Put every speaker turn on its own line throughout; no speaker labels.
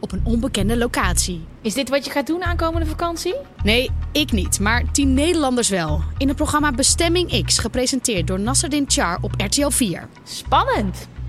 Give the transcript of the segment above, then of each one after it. op een onbekende locatie.
Is dit wat je gaat doen aankomende vakantie?
Nee, ik niet, maar tien Nederlanders wel. In het programma Bestemming X, gepresenteerd door Nasserdin Char op RTL 4.
Spannend.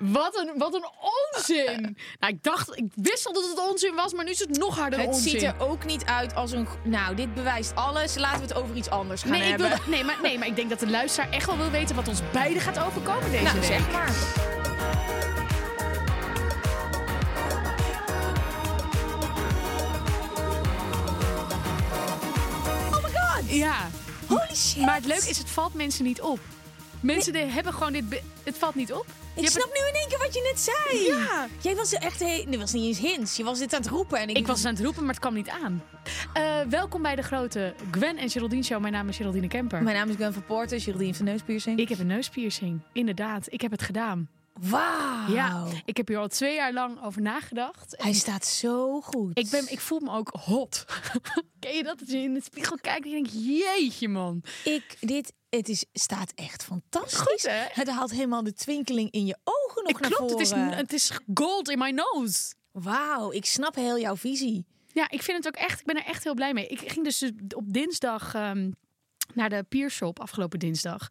Wat een, wat een onzin! Nou, ik dacht, ik wist al dat het onzin was, maar nu is het nog harder
het
onzin.
ziet er ook niet uit als een... go- Nou, dit bewijst alles. Laten we het over iets anders gaan
nee, ik
hebben.
wil, nee, maar, nee, maar ik denk dat de luisteraar echt wel wil weten wat ons beiden gaat overkomen deze
Nou,
week.
zeg maar.
Ja.
Oh Holy shit.
Maar het leuke is, het valt mensen niet op. Mensen die hebben gewoon dit... be- Het valt niet op. Je
Ik
hebt
snap nu in één keer wat je net zei.
Ja.
Jij was er echt... He- nee, was niet eens hints. Je was dit aan het roepen. En ik,
Ik was het aan het roepen, maar het kwam niet aan. Eh, welkom bij de grote Gwen en Geraldine Show. Mijn naam is Geraldine Kemper.
Mijn naam is Gwen van Poorten. Geraldine heeft een neuspiercing.
Ik heb een neuspiercing. Inderdaad, ik heb het gedaan.
Wauw.
Ja, ik heb hier al twee jaar lang over nagedacht. En
Hij staat zo goed.
Ik, ben, ik voel me ook hot. Ken je dat? Dat je in de spiegel kijkt en je denkt, jeetje man.
Ik, dit, het is, staat echt fantastisch.
Goed, hè?
Het haalt helemaal de twinkeling in je ogen nog
Ik
naar
klopt, het is,
voren.
het is gold in my nose.
Wauw, ik snap heel jouw visie.
Ja, ik vind het ook echt. Ik ben er echt heel blij mee. Ik ging dus op dinsdag ehm, naar de piershop afgelopen dinsdag.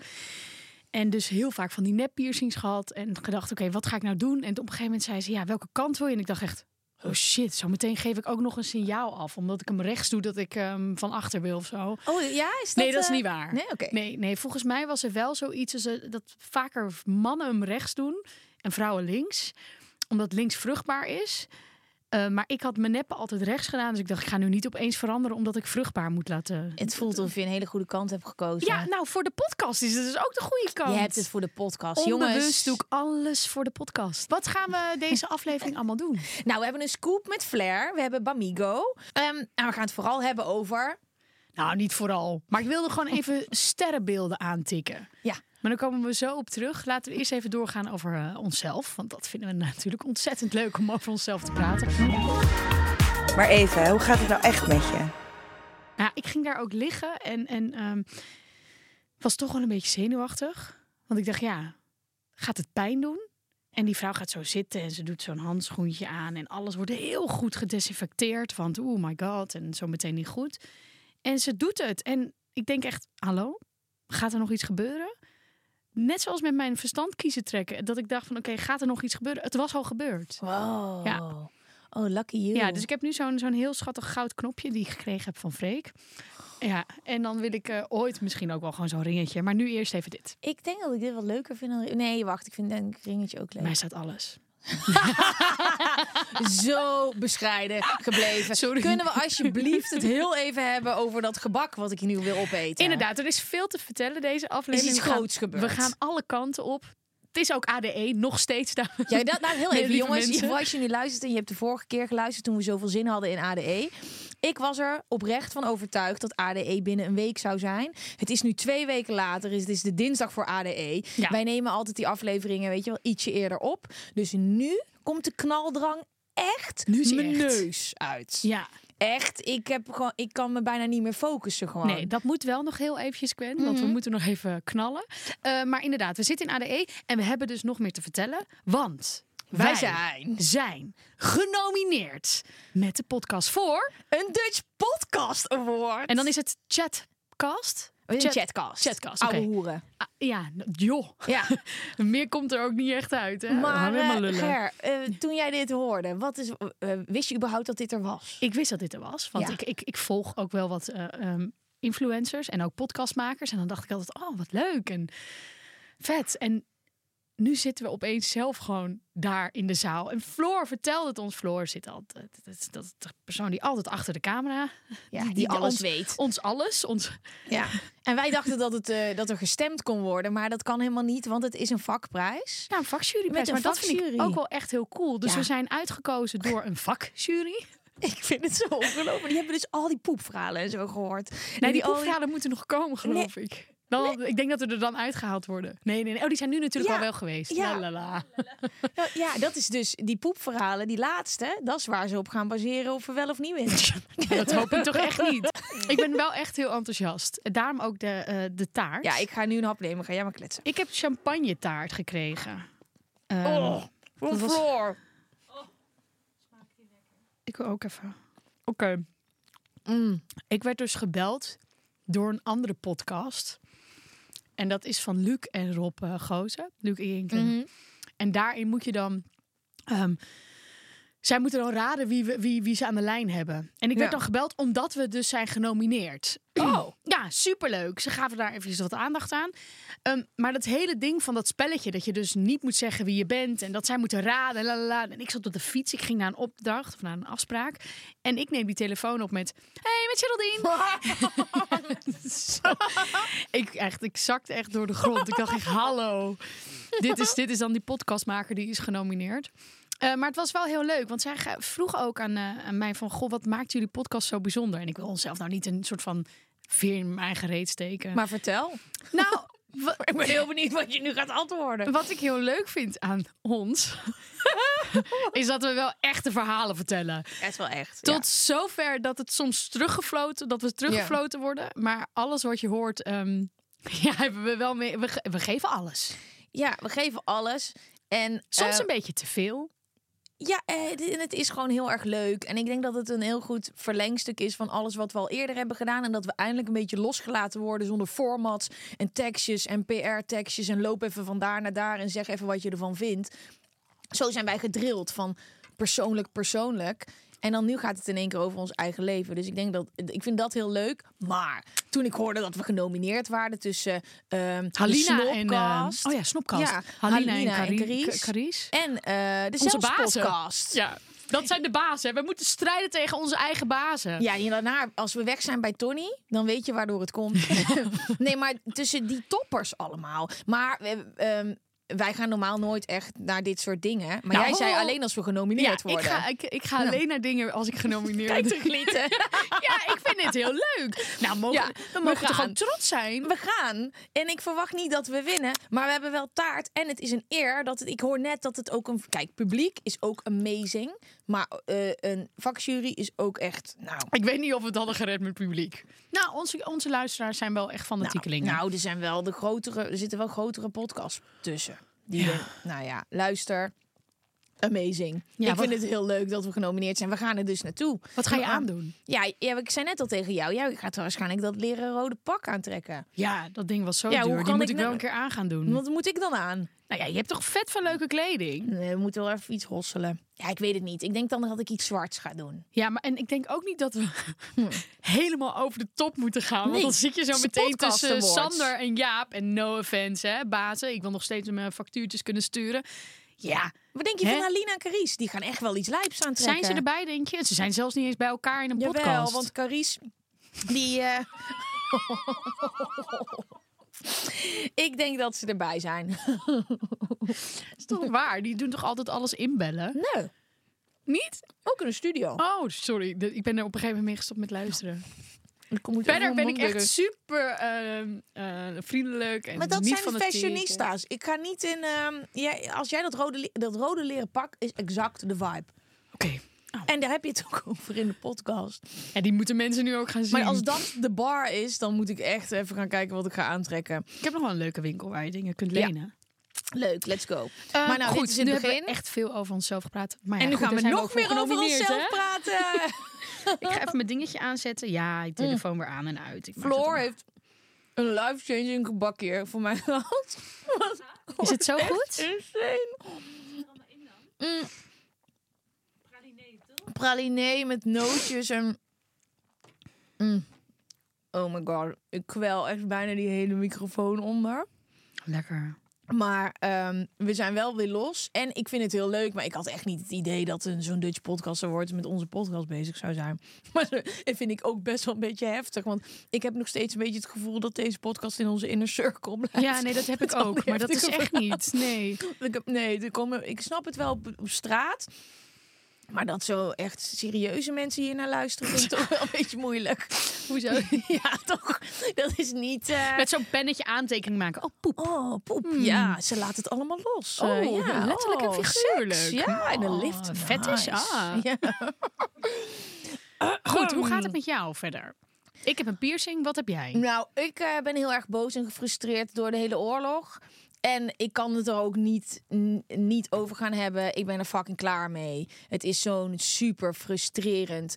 En dus heel vaak van die nep piercings gehad. En gedacht, oké, wat ga ik nou doen? En op een gegeven moment zei ze, ja, welke kant wil je? En ik dacht echt, oh shit, zometeen geef ik ook nog een signaal af. Omdat ik hem rechts doe dat ik hem van achter wil of zo.
Oh ja, is dat...
nee, dat is
eh,
niet waar.
Nee, oké.
nee, nee, volgens mij was er wel zoiets als, eh, dat vaker mannen hem rechts doen en vrouwen links. Omdat links vruchtbaar is. Eh, maar ik had mijn neppen altijd rechts gedaan. Dus ik dacht, ik ga nu niet opeens veranderen omdat ik vruchtbaar moet laten.
Het voelt of je een hele goede kant hebt gekozen.
Ja, nou, voor de podcast is het dus ook de goede kant.
je hebt het voor de podcast.
Onbewust
Jongens,
doe ik alles voor de podcast. Wat gaan we deze aflevering allemaal doen?
nou, we hebben een scoop met Flair. We hebben Bamigo. Ehm, en we gaan het vooral hebben over...
Nou, niet vooral. Maar ik wilde gewoon even sterrenbeelden aantikken.
Ja,
Maar dan komen we zo op terug. Laten we eerst even doorgaan over eh, onszelf. Want dat vinden we natuurlijk ontzettend leuk om over onszelf te praten.
Maar even, hè, hoe gaat het nou echt met je?
Nou, ik ging daar ook liggen en, en ehm, was toch wel een beetje zenuwachtig. Want ik dacht, ja, gaat het pijn doen? En die vrouw gaat zo zitten en ze doet zo'n handschoentje aan. En alles wordt heel goed gedesinfecteerd. Want oh my god, en zo meteen niet goed. En ze doet het. En ik denk echt, hallo, gaat er nog iets gebeuren? Net zoals met mijn verstand kiezen trekken. Dat ik dacht van, oké, gaat er nog iets gebeuren? Het was al gebeurd.
Wow.
Ja.
Oh, lucky you.
Ja, dus ik heb nu zo'n zo'n heel schattig goud knopje die ik gekregen heb van Freek. Ja, en dan wil ik eh, ooit misschien ook wel gewoon zo'n ringetje. Maar nu eerst even dit.
Ik denk dat ik dit wat leuker vind dan... Nee, wacht. Ik vind denk ik ringetje ook leuk.
Mij staat alles.
zo bescheiden gebleven.
Sorry.
Kunnen we alsjeblieft het heel even hebben over dat gebak wat ik nu wil opeten?
Inderdaad, er is veel te vertellen deze aflevering.
Is iets
We gaan-
groots gebeurd.
We gaan alle kanten op. Het is ook ADE, nog steeds daar.
Ja, dat, nou, heel
Nee,
even,
lieve
jongens.
mensen.
Als je nu luistert en je hebt de vorige keer geluisterd toen we zoveel zin hadden in ADE. Ik was er oprecht van overtuigd dat ADE binnen een week zou zijn. Het is nu twee weken later. dus Het is de dinsdag voor ADE.
Ja.
Wij nemen altijd die afleveringen, weet je wel, ietsje eerder op. Dus nu komt de knaldrang echt
Nu is hij
mijn
echt.
neus uit.
Ja,
Echt, ik, heb gewoon, ik kan me bijna niet meer focussen gewoon.
nee, dat moet wel nog heel eventjes, Gwen. Want
Mhm.
we moeten nog even knallen. Eh, maar inderdaad, we zitten in ADE en we hebben dus nog meer te vertellen. Want wij,
Wij zijn
zijn genomineerd met de podcast voor...
een Dutch Podcast Award. Oh,
En dan is het chatcast.
een
Chat-
chatcast.
Chatcast, oké.
Oude hoeren.
Ah, ja, n- joh.
Ja.
Meer komt er ook niet echt uit. Hè? We
Maar
gaan
eh,
helemaal lullen.
Ger, eh, toen jij dit hoorde, wat is, eh, wist je überhaupt dat dit er was?
Ik wist dat dit er was, want
Ja.
ik, ik, ik volg ook wel wat eh, ehm, influencers en ook podcastmakers. En dan dacht ik altijd, oh, wat leuk en vet. En nu zitten we opeens zelf gewoon daar in de zaal. En Floor vertelde het ons. Floor zit altijd, dat is, dat is de persoon die altijd achter de camera,
Ja, die,
die
alles
ons-
weet.
ons alles, ons,
Ja. En wij dachten dat, het, eh, dat er gestemd kon worden, maar dat kan helemaal niet, want het is een vakprijs.
ja, een vakjury.
Met een
maar dat vind ik
vakjury.
ook wel echt heel cool. Dus
Ja.
we zijn uitgekozen door een vakjury.
Ik vind het zo ongelooflijk. Die hebben dus al die poepverhalen en zo gehoord.
Nee, die
al
proefverhalen moeten nog komen, geloof ik. Dan, Ik denk dat we er dan uitgehaald worden. Nee, nee, nee. Oh, die zijn nu natuurlijk
Ja.
al wel geweest.
Ja.
La, la, la.
Ja, Ja, dat is dus die poepverhalen, die laatste, dat is waar ze op gaan baseren of er wel of niet is.
Dat hoop ik toch echt niet. Ik ben wel echt heel enthousiast. En Daarom ook de, eh, de taart.
Ja, ik ga nu een hap nemen, ga jij maar kletsen.
Ik heb champagne taart gekregen. Ehm,
Van
was-
Oh, Floor.
Ik wil ook even. Oké.
Mm.
Ik werd dus gebeld door een andere podcast. En dat is van Luc en Rob eh, Gozen. Luc Inken. En daarin moet je dan. ehm, zij moeten dan raden wie, we- wie, wie ze aan de lijn hebben. En ik werd
Ja.
dan gebeld omdat we dus zijn genomineerd. Oh. Ja, superleuk. Ze gaven daar even wat aandacht aan. Ehm, maar dat hele ding van dat spelletje, dat je dus niet moet zeggen wie je bent en dat zij moeten raden. la, la, la. En ik zat op de fiets, ik ging naar een opdracht of naar een afspraak. En ik neem die telefoon op met: Hey, met Geraldine. Zo. ik, echt, ik zakte echt door de grond. Ik dacht echt: Hallo. dit, is, dit is dan die podcastmaker die is genomineerd. Eh, maar het was wel heel leuk, want zij ga- vroeg ook aan, eh, aan mij van... Goh, wat maakt jullie podcast zo bijzonder? En ik wil onszelf nou niet een soort van veer in mijn eigen reet steken.
Maar vertel.
nou, wa-
Ik ben heel benieuwd wat je nu gaat antwoorden.
wat ik heel leuk vind aan ons... is dat we wel echte verhalen vertellen.
Het is wel echt.
Tot zover dat het soms teruggefloten, dat we teruggefloten worden. Maar alles wat je hoort, ehm, ja, hebben we wel mee. We, ge- we geven alles.
Ja, we geven alles. En
Soms
eh,
een beetje te veel.
Ja, eh, dit- en het is gewoon heel erg leuk. En ik denk dat het een heel goed verlengstuk is van alles wat we al eerder hebben gedaan. En dat we eindelijk een beetje losgelaten worden zonder formats en tekstjes en PR-tekstjes. En loop even van daar naar daar en zeg even wat je ervan vindt. Zo zijn wij gedrild van persoonlijk, persoonlijk. En dan nu gaat het in één keer over ons eigen leven. Dus ik denk dat ik vind dat heel leuk. Maar toen ik hoorde dat we genomineerd waren tussen ehm
Halina
de
en
Snopcast
eh, oh ja, Snopcast.
Ja,
Halina,
Halina en
en Cari-
Carice.
Ca- Carice.
en eh de
Onze bazen.
Zelfspodcast.
Ja, dat zijn de bazen. hè. We moeten strijden tegen onze eigen bazen.
Ja, en daarna, als we weg zijn bij Tony, dan weet je waardoor het komt. nee, maar tussen die toppers allemaal. Maar eh, ehm, wij gaan normaal nooit echt naar dit soort dingen. Maar
Nou,
jij zei
ho.
alleen als we genomineerd
ik
worden.
ga, ik, ik ga alleen naar dingen als ik genomineerd ben.
Teruglieten.
Ja, ik vind het heel leuk. Nou, mogen,
Ja,
we mogen toch
gaan.
gewoon trots zijn?
we gaan. En ik verwacht niet dat we winnen. Maar we hebben wel taart. En het is een eer. Dat het, ik hoor net dat het ook een... Kijk, publiek is ook amazing. Maar eh, een vakjury is ook echt... Nou,
Ik weet niet of we het hadden gered met publiek. Nou, onze, onze luisteraars zijn wel echt
Nou,
fanatiekelingen.
nou, er zijn wel de grotere, er zitten wel grotere podcasts tussen. Die
Ja.
je- nou ja, luister. Amazing.
Ja,
ik
wat-
vind het heel leuk dat we genomineerd zijn. We gaan er dus naartoe.
Wat ga je
We gaan-
aandoen?
Ja, ja, ik zei net al tegen jou. Jij gaat waarschijnlijk dat leren rode pak aantrekken.
Ja, dat ding was zo
Ja, hoe
duur. Die
kan
moet
ik
ik wel
nou-
een keer aan gaan doen.
Wat moet ik dan aan?
Nou ja, je hebt toch vet van leuke kleding?
Nee, we moeten wel even iets rosselen. Ja, ik weet het niet. Ik denk dan dat ik iets zwarts ga doen.
Ja, maar en ik denk ook niet dat we helemaal over de top moeten gaan.
Hm. Nee,
want dan zit je
het
zo
is de
meteen
podcast
tussen
awards.
Sander en Jaap. En no offense, hè, bazen. Ik wil nog steeds mijn factuurtjes kunnen sturen. Ja,
Wat denk je
Hè?
van Alina en Carice? Die gaan echt wel iets lijps aantrekken.
zijn ze erbij, denk je? Ze zijn zelfs niet eens bij elkaar in een
Jawel,
podcast.
want Carice, die... eh, ik denk dat ze erbij zijn.
Dat is toch waar? Die doen toch altijd alles inbellen?
Nee,
Niet?
ook in de studio.
Oh, sorry. De- Ik ben er op een gegeven moment mee gestopt met luisteren.
Ik moet
Verder
even
ben
mijn
ik
mond
echt
drukken.
super ehm, eh, vriendelijk. En
Maar dat
niet
zijn de
fanatiek.
fashionista's. Ik ga niet in... ehm, jij, als jij dat rode, li- dat rode leren pak, is exact de vibe.
Oké.
En daar heb je het ook over in de podcast.
En die moeten mensen nu ook gaan zien.
Maar als dat de bar is, dan moet ik echt even gaan kijken wat ik ga aantrekken.
Ik heb nog wel een leuke winkel waar je dingen kunt
Ja.
lenen.
Leuk, let's go.
Eh,
maar nou,
goed,
dit is in
nu
het
hebben
begin.
we echt veel over onszelf gepraat. Maar ja,
en nu
goed,
gaan
daar
we
zijn
nog
ook voor
meer over
genomineerd,
onszelf
hè?
praten.
Ik ga even mijn dingetje aanzetten. Ja, je telefoon weer aan en uit. Ik maak het
Floor
allemaal.
heeft een life-changing gebak hier voor mij gehad.
Is het zo goed?
Insane. Mm. Pralinee met nootjes en... Mm. Oh my god, ik kwel echt bijna die hele microfoon onder.
Lekker.
Maar ehm, we zijn wel weer los. En ik vind het heel leuk. Maar ik had echt niet het idee dat een zo'n Dutch podcast wordt met onze podcast bezig zou zijn. Maar dat vind ik ook best wel een beetje heftig. Want ik heb nog steeds een beetje het gevoel dat deze podcast in onze inner circle blijft.
Ja, nee, dat heb
Met
ik
al die
ook. Maar dat is
heftige
echt niet. Nee.
Ik heb- nee, er komen, ik snap het wel op, op straat. Maar dat zo echt serieuze mensen hier naar luisteren, vind ik toch wel een beetje moeilijk.
Hoezo?
ja, toch? Dat is niet. eh,
Met zo'n pennetje aantekening maken. Oh, poep.
Oh, poep. Ja, ze laat het allemaal los.
Oh,
Eh, ja.
letterlijk en
Oh,
figuurlijk.
seks. Ja, en een lift.
Oh, fetish, ah.
Ja.
Goed, hoe gaat het met jou verder? Ik heb een piercing, wat heb jij?
Nou, ik eh, ben heel erg boos en gefrustreerd door de hele oorlog. En ik kan het er ook niet, n- niet over gaan hebben. Ik ben er fucking klaar mee. Het is zo'n super frustrerend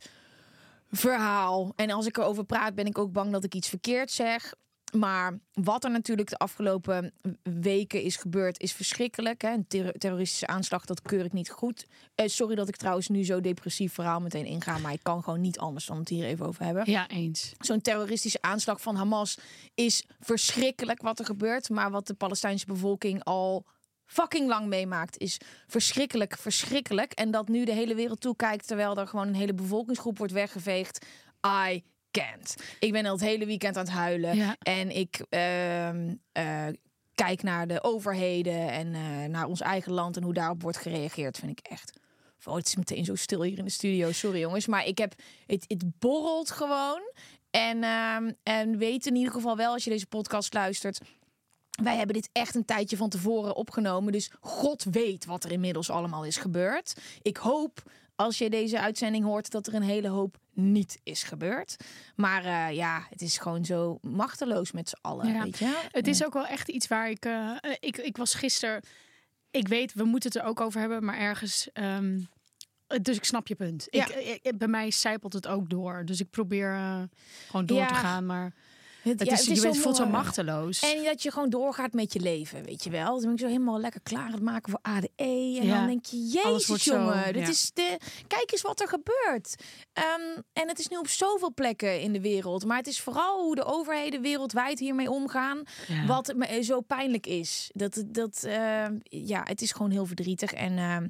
verhaal. En als ik erover praat, ben ik ook bang dat ik iets verkeerd zeg. Maar wat er natuurlijk de afgelopen weken is gebeurd, is verschrikkelijk. Hè? Een ter- terroristische aanslag, dat keur ik niet goed. Eh, sorry dat ik trouwens nu zo depressief verhaal meteen inga. Maar ik kan gewoon niet anders dan het hier even over hebben
Ja, eens.
zo'n terroristische aanslag van Hamas is verschrikkelijk wat er gebeurt. Maar wat de Palestijnse bevolking al fucking lang meemaakt is verschrikkelijk, verschrikkelijk. En dat nu de hele wereld toekijkt terwijl er gewoon een hele bevolkingsgroep wordt weggeveegd. I can't. Ik ben al het hele weekend aan het huilen.
Ja.
En ik ehm, eh, kijk naar de overheden en eh, naar ons eigen land en hoe daarop wordt gereageerd. Vind ik echt. Oh, het is meteen zo stil hier in de studio. Sorry jongens. Maar ik heb. Het, het borrelt gewoon. En, ehm, en weet in ieder geval wel als je deze podcast luistert. Wij hebben dit echt een tijdje van tevoren opgenomen. Dus God weet wat er inmiddels allemaal is gebeurd. Ik hoop, als je deze uitzending hoort, dat er een hele hoop niet is gebeurd. Maar eh, ja, het is gewoon zo machteloos met z'n allen.
Ja.
Weet je?
Het is ook wel echt iets waar ik... eh, eh, ik, ik was gisteren... Ik weet, we moeten het er ook over hebben, maar ergens... ehm, eh, dus ik snap je punt.
Ja.
Ik, eh, eh, bij mij zijpelt het ook door. Dus ik probeer eh, gewoon door
Ja.
te gaan. Maar het,
ja,
is, eh, je bent, voelt zo
mooi.
machteloos.
En dat je gewoon doorgaat met je leven, weet je wel. Dus Dan ben ik zo helemaal lekker klaar aan het maken voor ADE. En
Ja.
dan denk je,
Alles
jezus
wordt zo,
jongen, dit
ja.
is de... kijk eens wat er gebeurt. Ehm, en het is nu op zoveel plekken in de wereld. Maar het is vooral hoe de overheden wereldwijd hiermee omgaan.
Ja.
Wat me eh, zo pijnlijk is. Dat, dat, eh, ja, het is gewoon heel verdrietig. En ehm,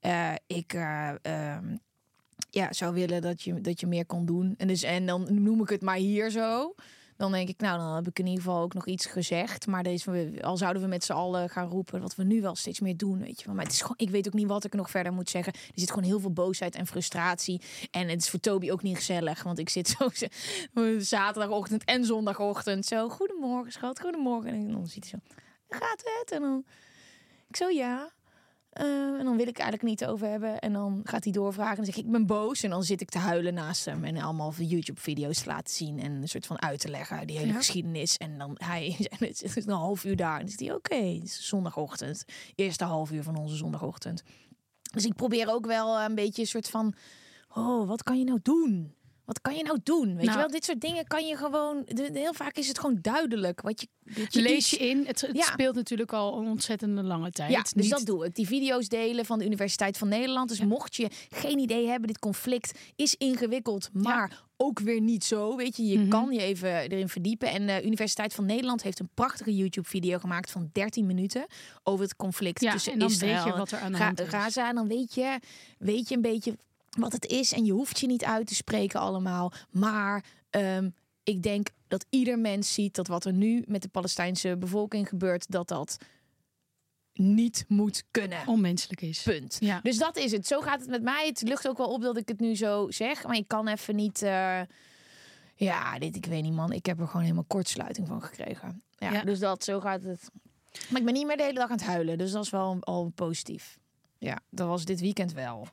eh, ik... eh, ehm, ja, zou willen dat je, dat je meer kon doen. En, dus, en dan noem ik het maar hier zo. Dan denk ik, nou, dan heb ik in ieder geval ook nog iets gezegd. Maar deze, al zouden we met z'n allen gaan roepen, wat we nu wel steeds meer doen, weet je wel. Maar het is gewoon, ik weet ook niet wat ik nog verder moet zeggen. Er zit gewoon heel veel boosheid en frustratie. En het is voor Toby ook niet gezellig, want ik zit zo z- zaterdagochtend en zondagochtend zo. Goedemorgen, schat, goedemorgen. En dan ziet hij zo, gaat het? En dan, ik zo, ja. Eh, en dan wil ik eigenlijk niet over hebben. En dan gaat hij doorvragen. En dan zeg ik, ik ben boos. En dan zit ik te huilen naast hem. En allemaal YouTube-video's te laten zien. En een soort van uit te leggen, die hele
Ja.
geschiedenis. En dan hij en het is een half uur daar. En dan zegt hij, oké, het is zondagochtend. Eerste half uur van onze zondagochtend. Dus ik probeer ook wel een beetje een soort van... Oh, wat kan je nou doen? Wat kan je nou doen? Weet
Nou.
je wel, dit soort dingen kan je gewoon... de- de- heel vaak is het gewoon duidelijk. Wat je, dat je
lees
iets-
je in. Het, het
Ja.
speelt natuurlijk al een ontzettende lange tijd.
ja, dus
Niet-
dat doe ik. Die video's delen van de Universiteit van Nederland. Dus mocht je geen idee hebben, dit conflict is ingewikkeld, maar ook weer niet zo. Weet je, je
Mhm.
kan je even erin verdiepen. En de Universiteit van Nederland heeft een prachtige YouTube-video gemaakt van 13 minuten over het conflict
Ja,
tussen
en dan weet
Israël
je wat er aan de
Ga-
hand is.
Gaza. En dan weet je, weet je een beetje wat het is. En je hoeft je niet uit te spreken allemaal. Maar ehm, ik denk dat ieder mens ziet dat wat er nu met de Palestijnse bevolking gebeurt, dat dat niet moet kunnen.
onmenselijk is.
Punt.
Ja.
Dus dat is het. Zo gaat het met mij. Het lucht ook wel op dat ik het nu zo zeg. Maar ik kan even niet. eh, Ja, dit, ik weet niet, man. Ik heb er gewoon helemaal kortsluiting van gekregen. Ja,
Ja.
Dus dat, zo gaat het. Maar ik ben niet meer de hele dag aan het huilen. Dus dat is wel al positief. Ja, dat was dit weekend wel.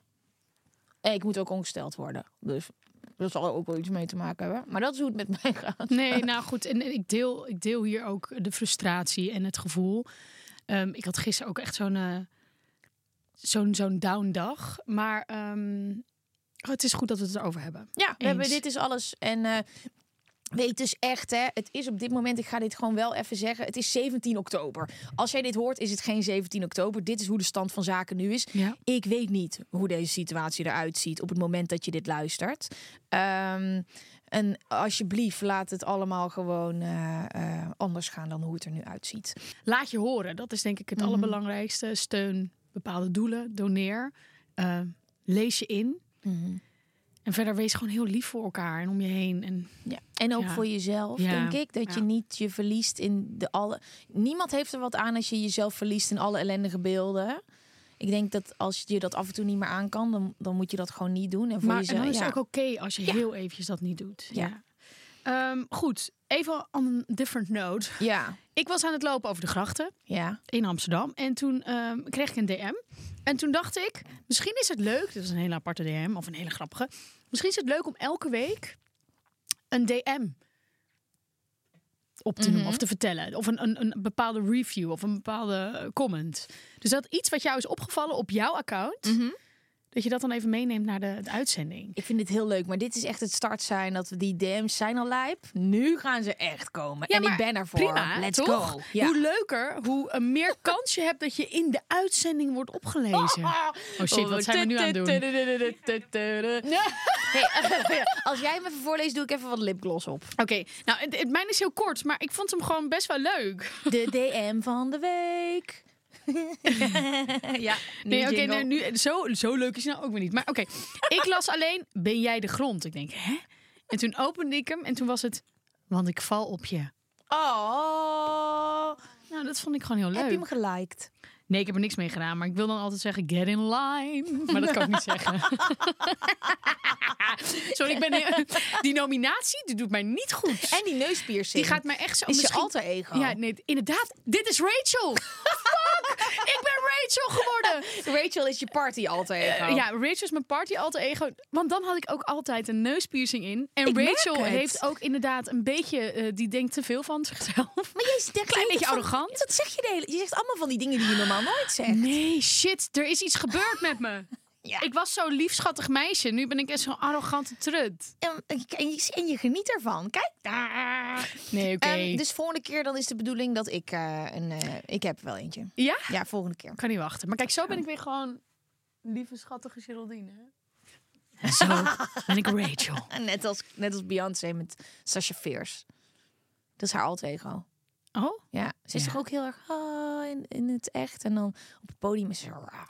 En ik moet ook ongesteld worden. Dus dat zal er ook wel iets mee te maken hebben. Maar dat is hoe het met mij gaat.
Nee, nou goed. En en ik deel, ik deel hier ook de frustratie en het gevoel. Ehm, ik had gisteren ook echt zo'n eh, zo'n zo'n down dag. Maar ehm, oh, het is goed dat we het erover hebben.
Ja, we hebben,
Eens.
dit is alles. En eh, weet dus echt, hè, het is op dit moment, ik ga dit gewoon wel even zeggen, het is 17 oktober. Als jij dit hoort, is het geen 17 oktober. Dit is hoe de stand van zaken nu is.
Ja.
Ik weet niet hoe deze situatie eruit ziet op het moment dat je dit luistert. Ehm, En alsjeblieft, laat het allemaal gewoon eh, eh, anders gaan dan hoe het er nu uitziet.
Laat je horen. Dat is denk ik het allerbelangrijkste. Steun bepaalde doelen. Doneer. eh, lees je in. En verder wees gewoon heel lief voor elkaar en om je heen. En
Ja. En ook
Ja.
voor jezelf,
Ja.
denk ik. Dat je
Ja.
niet je verliest in de alle. Niemand heeft er wat aan als je jezelf verliest in alle ellendige beelden. Ik denk dat als je dat af en toe niet meer aan kan, dan, dan moet je dat gewoon niet doen. En voor
maar en
jezelf.
dan is
ja.
het ook oké als je
Ja.
heel eventjes dat niet doet.
Ja.
Ehm, goed, even on a different note.
ja,
Ik was aan het lopen over de grachten
ja.
in Amsterdam. En toen ehm, kreeg ik een DM. En toen dacht ik, misschien is het leuk... Dit is een hele aparte DM, of een hele grappige. Misschien is het leuk om elke week een DM op te noemen of te vertellen. Of een, een, een bepaalde review of een bepaalde comment. Dus dat iets wat jou is opgevallen op jouw account... dat je dat dan even meeneemt naar de, de uitzending.
Ik vind dit heel leuk, maar dit is echt het start zijn dat we die DM's zijn al lijp. Nu gaan ze echt komen. en ik
maar
ben ervoor.
Prima,
Let's
toch?
go. Ja.
Hoe leuker, hoe eh, meer kans je hebt dat je in de uitzending wordt opgelezen. Oh shit, wat zijn we nu aan het doen?
Hey, Als jij me even voorleest, doe ik even wat lipgloss op.
Oké, nou, het, het- mijn is heel kort, maar ik vond hem gewoon best wel leuk.
De DM van de week. ja,
Nee, oké, nee, nu, zo, zo leuk is hij nou ook weer niet. Maar oké, ik las alleen, ben jij de grond? Ik denk, hè? En toen opende ik hem en toen was het, want ik val op je.
Oh,
Nou, dat vond ik gewoon heel leuk.
heb je hem geliked?
Nee, ik heb er niks mee gedaan, maar ik wil dan altijd zeggen, get in line. Maar dat kan ik niet zeggen. Sorry, ik ben, heel- die nominatie, die doet mij niet goed.
En die neuspiercing.
Die gaat mij echt zo...
Is je
misschien-
alter ego.
Ja, nee, inderdaad. Dit is Rachel. Fuck! Ik ben Rachel geworden.
Rachel is je party alter ego.
Eh, Ja, Rachel is mijn party alter ego. Want dan had ik ook altijd een neuspiercing in. En
Ik merk
Rachel
het.
heeft ook inderdaad een beetje... eh, die denkt te veel van zichzelf.
Maar jij zegt
Klein beetje
van-
arrogant. Mm.
Dat zeg je de hele... Je zegt allemaal van die dingen die je normaal nooit zegt.
Nee, shit. Er is iets gebeurd met me.
Ja.
Ik was zo'n lief, schattig meisje. Nu ben ik echt zo'n arrogante trut.
En, en, je, en je geniet ervan. Kijk daar.
Nee, oké.
Ehm, dus volgende keer dan is de bedoeling dat ik eh, een... eh, ik heb wel eentje.
Ja?
Ja, volgende keer.
Kan niet wachten. Maar kijk, zo ben ik weer gewoon... Lieve, schattige Geraldine. En zo ben ik Rachel.
En Net als, net als Beyoncé met Sasha Fierce. Dat is haar alter ego.
Oh?
Ja, ze is
Ja.
toch ook heel erg ah, in, in het echt. En dan op het podium is ze... ah.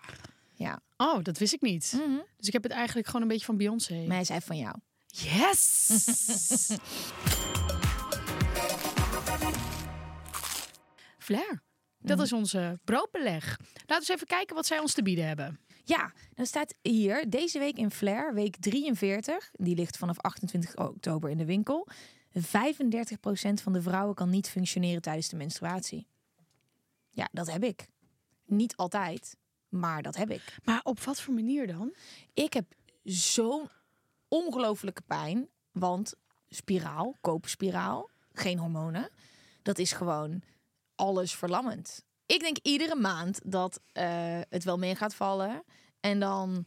Ja,
Oh, dat wist ik niet. Dus ik heb het eigenlijk gewoon een beetje van Beyoncé.
maar hij zei van jou.
Yes! Flair. Dat is onze broodbeleg. Laten we eens even kijken wat zij ons te bieden hebben.
Ja, dan staat hier deze week in Flair, week 43. Die ligt vanaf 28 oktober in de winkel. 35% van de vrouwen kan niet functioneren tijdens de menstruatie. Ja, dat heb ik. Niet altijd, maar dat heb ik.
Maar op wat voor manier dan?
Ik heb zo'n ongelofelijke pijn. Want spiraal, koperspiraal, geen hormonen. Dat is gewoon alles verlammend. Ik denk iedere maand dat eh, het wel mee gaat vallen. En dan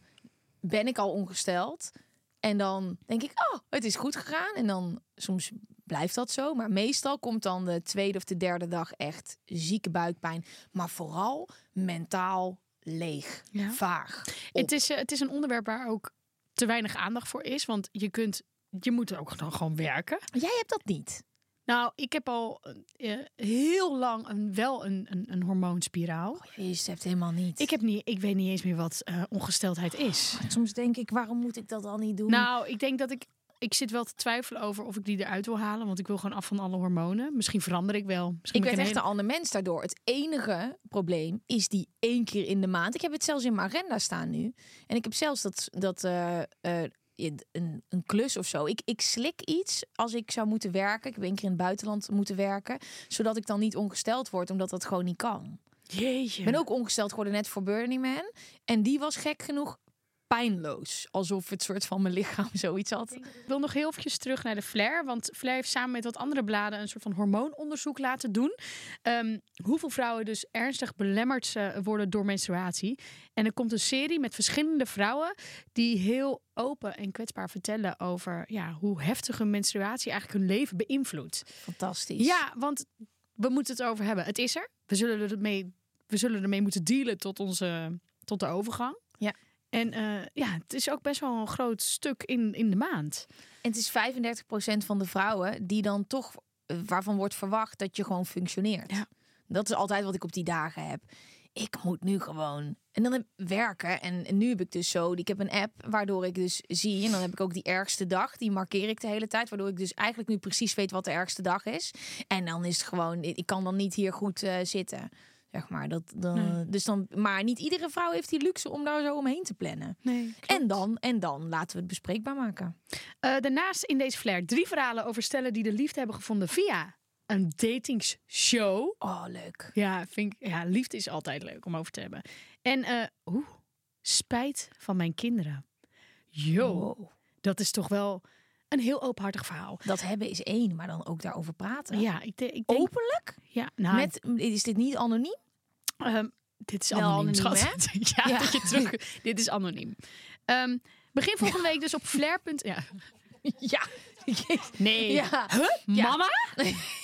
ben ik al ongesteld. En dan denk ik, oh, het is goed gegaan. En dan soms blijft dat zo. Maar meestal komt dan de tweede of de derde dag echt zieke buikpijn. Maar vooral mentaal leeg,
Ja.
vaag. op.
Het is, eh, het is een onderwerp waar ook te weinig aandacht voor is. Want je, kunt, je moet er ook dan gewoon werken.
Jij hebt dat niet.
Nou, ik heb al eh, heel lang een, wel een, een, een hormoonspiraal.
Jezus, je hebt helemaal niet.
Ik, heb niet, ik weet niet eens meer wat eh, ongesteldheid is.
Soms denk ik, waarom moet ik dat al niet doen?
Nou, ik denk dat ik. Ik zit wel te twijfelen over of ik die eruit wil halen. Want ik wil gewoon af van alle hormonen. Misschien verander ik wel. Misschien
ik
ben
werd echt
een
een ander mens daardoor. Het enige probleem is die één keer in de maand. Ik heb het zelfs in mijn agenda staan nu. En ik heb zelfs dat, dat eh, eh, je- een, een klus of zo. Ik, ik slik iets als ik zou moeten werken. Ik heb één keer in het buitenland moeten werken. Zodat ik dan niet ongesteld word, omdat dat gewoon niet kan.
hele- Jeetje.
Ik ben ook ongesteld geworden net voor Burning Man. En die was gek genoeg pijnloos. Alsof het soort van mijn lichaam zoiets had.
Ik wil nog heel eventjes terug naar de Flair. Want Flair heeft samen met wat andere bladen een soort van hormoononderzoek laten doen. Ehm, hoeveel vrouwen dus ernstig belemmerd eh, worden door menstruatie. En er komt een serie met verschillende vrouwen die heel open en kwetsbaar vertellen over ja, hoe heftig hun menstruatie eigenlijk hun leven beïnvloedt.
Fantastisch.
Ja, want we moeten het over hebben. Het is er. We zullen ermee, we zullen ermee moeten dealen tot, onze, tot de overgang.
Ja.
En eh, ja, het is ook best wel een groot stuk in, in de maand.
En het is 35% van de vrouwen die dan toch, eh, waarvan wordt verwacht dat je gewoon functioneert.
Ja.
Dat is altijd wat ik op die dagen heb. Ik moet nu gewoon. En dan heb, werken. En, en nu heb ik dus zo. Ik heb een app waardoor ik dus zie. En dan heb ik ook die ergste dag. Die markeer ik de hele tijd. Waardoor ik dus eigenlijk nu precies weet wat de ergste dag is. En dan is het gewoon. Ik ik kan dan niet hier goed eh, zitten. Zeg maar. Dat, dan,
Nee.
dus dan, maar niet iedere vrouw heeft die luxe om daar zo omheen te plannen.
Nee,
En dan, en dan laten we het bespreekbaar maken.
Eh, daarnaast in deze flair drie verhalen over stellen die de liefde hebben gevonden via een datingshow.
Oh, leuk.
Ja, vind ik, ja, liefde is altijd leuk om over te hebben. En eh oeh, spijt van mijn kinderen. Yo,
Wow.
dat is toch wel een heel openhartig verhaal.
Dat hebben is één, maar dan ook daarover praten.
Ja, ik, de- ik denk...
Openlijk?
Ja, nou,
Met, is dit niet anoniem?
Ehm, dit is
Wel
anoniem,
anoniem,
schat. ja,
Ja.
dat je terug... dit is anoniem. Ehm, begin volgende week dus op flair. Ja.
Ja.
Nee.
Ja.
Huh?
Ja.
Mama?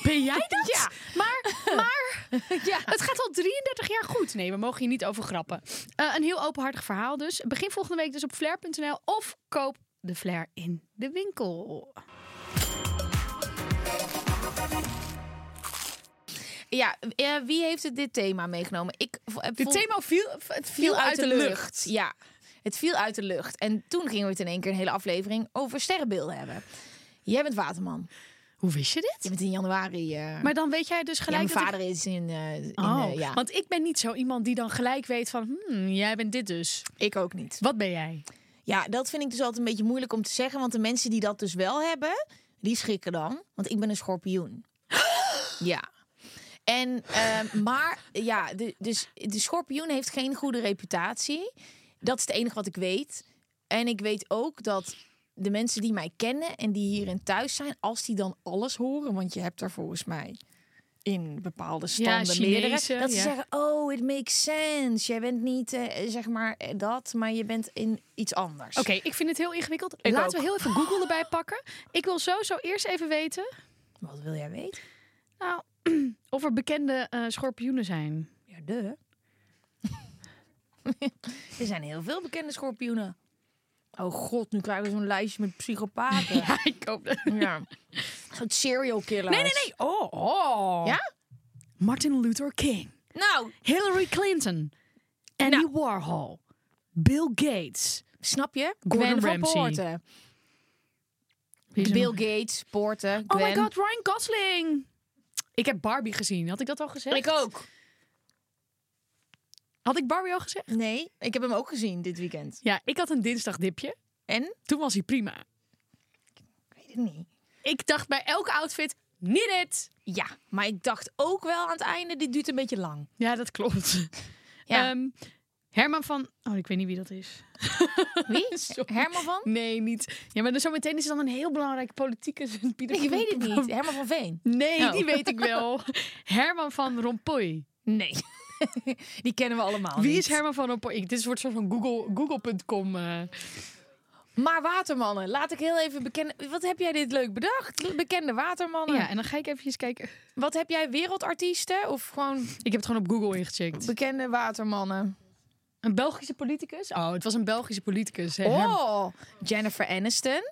Ben jij dat?
Ja.
Maar, maar...
ja.
Het gaat al 33 jaar goed. Nee, we mogen hier niet over grappen. Eh, een heel openhartig verhaal dus. Begin volgende week dus op flair.nl of koop de flair in de winkel.
Ja, eh, wie heeft het dit thema meegenomen? Ik v- eh,
Dit
vond-
thema viel, het viel uit de lucht.
Ja, het viel uit de lucht. En toen gingen we het in één keer een hele aflevering over sterrenbeelden hebben. Jij bent waterman.
Hoe wist je
Je
dit?
bent in januari... eh
Maar dan weet jij dus
ja,
gelijk dat
mijn
ik-
vader is in... eh, in
Oh,
eh, ja.
want ik ben niet zo iemand die dan gelijk weet van... Hmm, jij bent dit dus.
ik ook niet.
Wat ben jij?
Ja, dat vind ik dus altijd een beetje moeilijk om te zeggen. Want de mensen die dat dus wel hebben, die schrikken dan. Want ik ben een schorpioen. ja. En, ehm, maar, ja, de, dus de schorpioen heeft geen goede reputatie. Dat is het enige wat ik weet. En ik weet ook dat de mensen die mij kennen en die hierin thuis zijn... als die dan alles horen, want je hebt daar volgens mij... In bepaalde standen
Chinezen,
meerdere. Dat ze
ja.
zeggen, oh, it makes sense. Jij bent niet, eh, zeg maar, eh, dat, maar je bent in iets anders.
Oké, ik vind het heel ingewikkeld.
Ik
Laten
ook.
we heel even Google erbij pakken. Ik wil sowieso eerst even weten
Wat wil jij weten?
nou, of er bekende eh, schorpioenen zijn.
Ja, de. er zijn heel veel bekende schorpioenen. Oh god, nu krijgen we zo'n lijstje met psychopaten. ja.
ik hoop dat...
Zo'n serial killer.
Nee, nee, nee. Oh, oh.
Ja?
Martin Luther King. Nou.
Nou,
Hillary Clinton. Andy Warhol. Bill Gates.
snap je?
Gordon
Gwen van
Ramsay.
Poorten.
Wie is er
Bill
nog?
Gates, Poorten,
Oh
Gwen.
my god, Ryan Gosling. Ik heb Barbie gezien. Had ik dat al gezegd?
Ik ook.
Had ik Barbie al gezegd?
Nee, ik heb hem ook gezien dit weekend.
Ja, ik had een dinsdagdipje.
En?
Toen was hij prima.
Ik weet het niet.
Ik dacht bij elke outfit, niet it.
Ja, maar ik dacht ook wel aan het einde, dit duurt een beetje lang.
Ja, dat klopt.
Ja.
Ehm, Herman van... Oh, ik weet niet wie dat is.
Wie?
Sorry.
Herman van?
Nee, niet. Ja, maar dan zometeen is het dan een heel belangrijke politieke...
Ik weet het niet. Herman van Veen?
Nee,
Oh.
die weet ik wel. Herman van Rompuy.
Nee. Die kennen we allemaal
Wie
Oh, niet.
is Herman van Rompuy? Ik, dit wordt soort van Google- Google.com. eh.
Maar watermannen, laat ik heel even bekennen. Wat heb jij dit leuk bedacht? Bekende watermannen.
Oh Ja, en dan ga ik eventjes kijken.
Wat heb jij wereldartiesten of gewoon
Ik heb het gewoon op Google ingecheckt.
bekende watermannen?
Een Belgische politicus? Oh, het was een Belgische politicus. hè, Herman-
Oh, Jennifer Aniston,